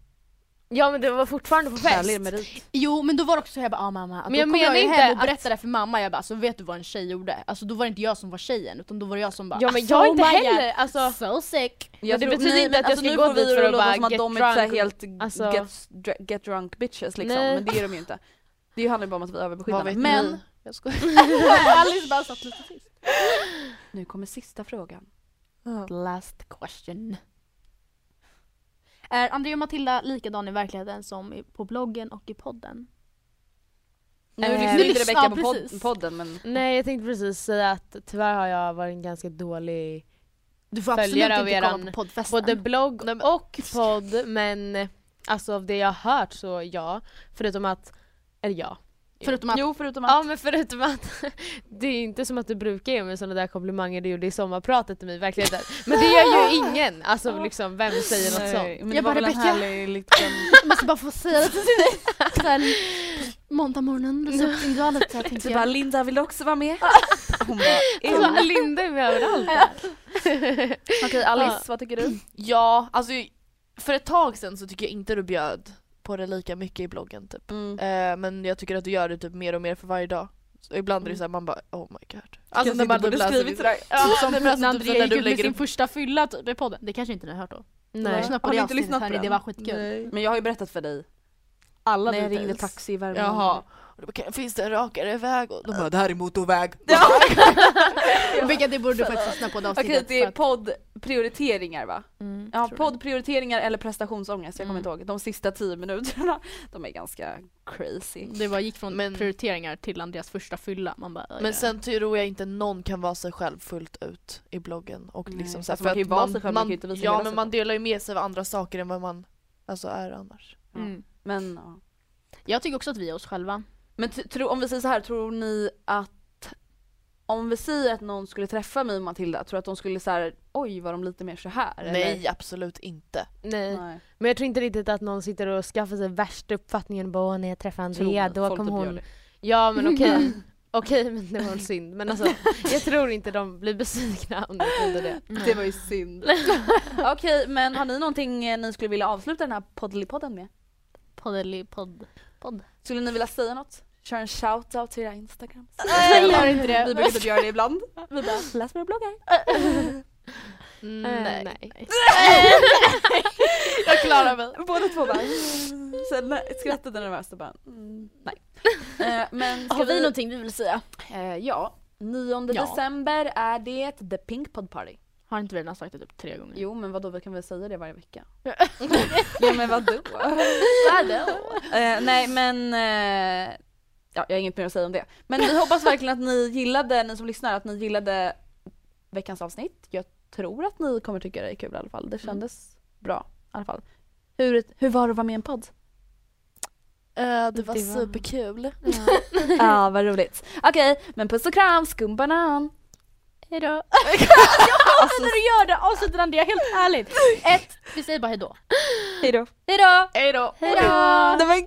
D: Ja men det var fortfarande på fest.
B: Härlig Jo men då var det också så här, jag bara ah, mamma,
D: Men
B: men då
D: jag
B: kom jag
D: menar
B: ju
D: inte
B: hem och
D: att-
B: berättade för mamma, jag bara alltså vet du vad en tjej gjorde? Alltså då var det inte jag som var tjejen utan då var det jag som bara
D: Ja men
B: alltså,
D: jag är inte
B: oh my God,
D: heller, alltså
B: So sick!
D: Men det
A: tror-
D: betyder
A: nej,
D: inte
A: men alltså,
D: att jag ska
A: nu
D: gå
A: får vi
D: dit för
A: det
D: att
A: låta
D: bara
A: som att
D: get
A: de är så här
D: drunk.
A: helt
D: Alltså-
A: get, dr- get drunk bitches liksom,
D: Nej.
A: men det är de ju inte. Det handlar ju bara om att vi är överbeskyddande.
C: Vad vet
A: Men
C: ni? Jag skojar.
B: Alice bara satt lite tyst.
A: nu kommer sista frågan.
B: Last question. Är Andrea och Matilda likadan i verkligheten som i- på bloggen och i podden?
A: Nu
B: Eh,
A: lyssnar
B: nu
A: inte
B: lyssnar-
A: Rebecka på
B: ja,
A: pod-
B: precis.
A: podden men
D: Nej jag tänkte precis säga att tyvärr har jag varit en ganska dålig
B: Du får absolut
D: följare av
B: inte kolla
D: eran
B: på poddfesten.
D: både blogg och podd men alltså av det jag har hört så ja. Förutom att, eller ja.
B: Förutom att...
A: Jo förutom att...
D: Ja men förutom att det är inte som att du brukar ge mig sådana där komplimanger du gjorde i sommarpratet till mig i verkligheten. Men det gör ju ingen, alltså liksom vem säger något
A: Nej,
D: sånt?
A: men det
B: Jag
A: var
B: bara,
A: väl en
B: Rebecka.
A: härlig liten...
B: Jag måste bara få säga det till dig. Såhär, måndag morgonen, då så ringde jag lite så här, tänkte
D: Typ
A: Du bara
B: jag.
A: Linda vill du också vara med? Hon bara, är hon
D: Alltså, Linda är med överallt. här.
A: Okej Alice, vad tycker du?
C: Ja, alltså för ett tag sedan så tycker jag inte du bjöd på det lika mycket i bloggen typ.
A: Mm.
C: Eh, men jag tycker att du gör det typ mer och mer för varje dag. Så ibland är det såhär man bara oh my god.
A: Kanske inte borde
C: typ läser
A: skrivit
C: det-
A: sådär.
C: Ja, som
B: Nej,
C: typ
B: men alltså,
C: när
B: Andrea
C: du
B: gick ut med
C: lägger
B: sin
C: upp-
B: första fylla typ, i podden. Det kanske inte ni har hört då?
D: Nej.
B: Lyssna på
A: Har
B: det
A: ni inte
B: avsnittet,
A: lyssnat på
B: hörni,
A: den?
B: Det var skitkul.
A: Men jag har ju berättat för dig.
D: Alla
A: När jag ringde
D: details.
A: taxi i Värmland.
C: typ. Jaha. Och då bara, "Kan- finns det en rakare väg? Och de bara det här är motorväg.
B: Vilket det borde du faktiskt lyssna på det
A: Okej
B: avsnittet.
A: det
B: för
A: är
B: att-
A: poddprioriteringar va?
B: Mm,
A: Ja
B: tror det.
A: poddprioriteringar eller prestationsångest, jag kommer
B: Mm.
A: inte ihåg. De sista tio minuterna, de är ganska crazy.
B: Det var, gick från
C: Men-
B: prioriteringar till Andreas första fylla. Man bara,
C: Men sen tror jag inte någon kan vara sig själv fullt ut i bloggen. Och
A: Nej,
C: liksom så här,
A: alltså, man kan ju vara sig själv, man kan ju inte visa
C: Ja
A: hela
C: men
A: sig
C: man
A: själv.
C: delar ju med sig av andra saker än vad man alltså, är annars.
B: mm.
A: Men, ja.
B: Jag tycker också att vi är oss själva.
A: Men t- tro, om vi säger så här, tror ni att om vi säger att någon skulle träffa mig och Matilda, tror du att de skulle så här, oj var de lite mer så här?
C: Nej absolut inte.
D: Nej.
A: Eller? Nej.
D: Men jag tror inte riktigt att någon sitter och skaffar sig värsta uppfattningen bara "Åh, när jag träffar
A: Tror
D: Andrea
A: ni?
D: då
A: Folk
D: kommer
A: typ gör
D: hon...
A: det.
D: Ja men okej. Okej men det var en synd. Men alltså jag tror inte de blir besvikna om de trodde det.
A: Det var ju synd. Okej men har ni någonting eh, ni skulle vilja avsluta den här Poddelipodden med?
B: Poddeli, podd.
A: Skulle ni vilja säga något? Kör en shout-out till era Instagram.
B: Nej, gör inte det.
A: Vi brukar typ göra det ibland. Vi bara, läs våra bloggar.
D: Eh,
C: Nej.
D: nej.
C: Jag klarar mig.
A: Båda två bara, mm. sen skrattade nervöst och bara, mm, nej. Eh, Men ska
B: Har vi någonting vi vill säga?
A: Eh, ja, 9
B: Ja.
A: december är det The Pink Pod Party.
B: Har inte vi redan sagt det typ tre gånger?
A: Jo men vadå, vi kan väl säga det varje vecka? jo men vadå?
B: Vadå?
A: Eh, nej men, eh, ja, jag har inget mer att säga om det. Men vi hoppas verkligen att ni gillade, ni som lyssnar, att ni gillade veckans avsnitt. Jag tror att ni kommer tycka det är kul i alla fall. Det kändes bra i alla fall. Hur, hur var det att vara med i en podd?
C: Eh, det var
D: Det var-
C: superkul.
A: Ja, ah, vad roligt. Okej, men puss och kram, skumbanan!
B: Hejdå. Jag hatar när du gör det! Avslutar Andrea, helt ärligt. Ett, vi säger bara hejdå.
A: Hejdå!
B: Hejdå!
C: Hejdå!
B: Hejdå!
A: Nej, men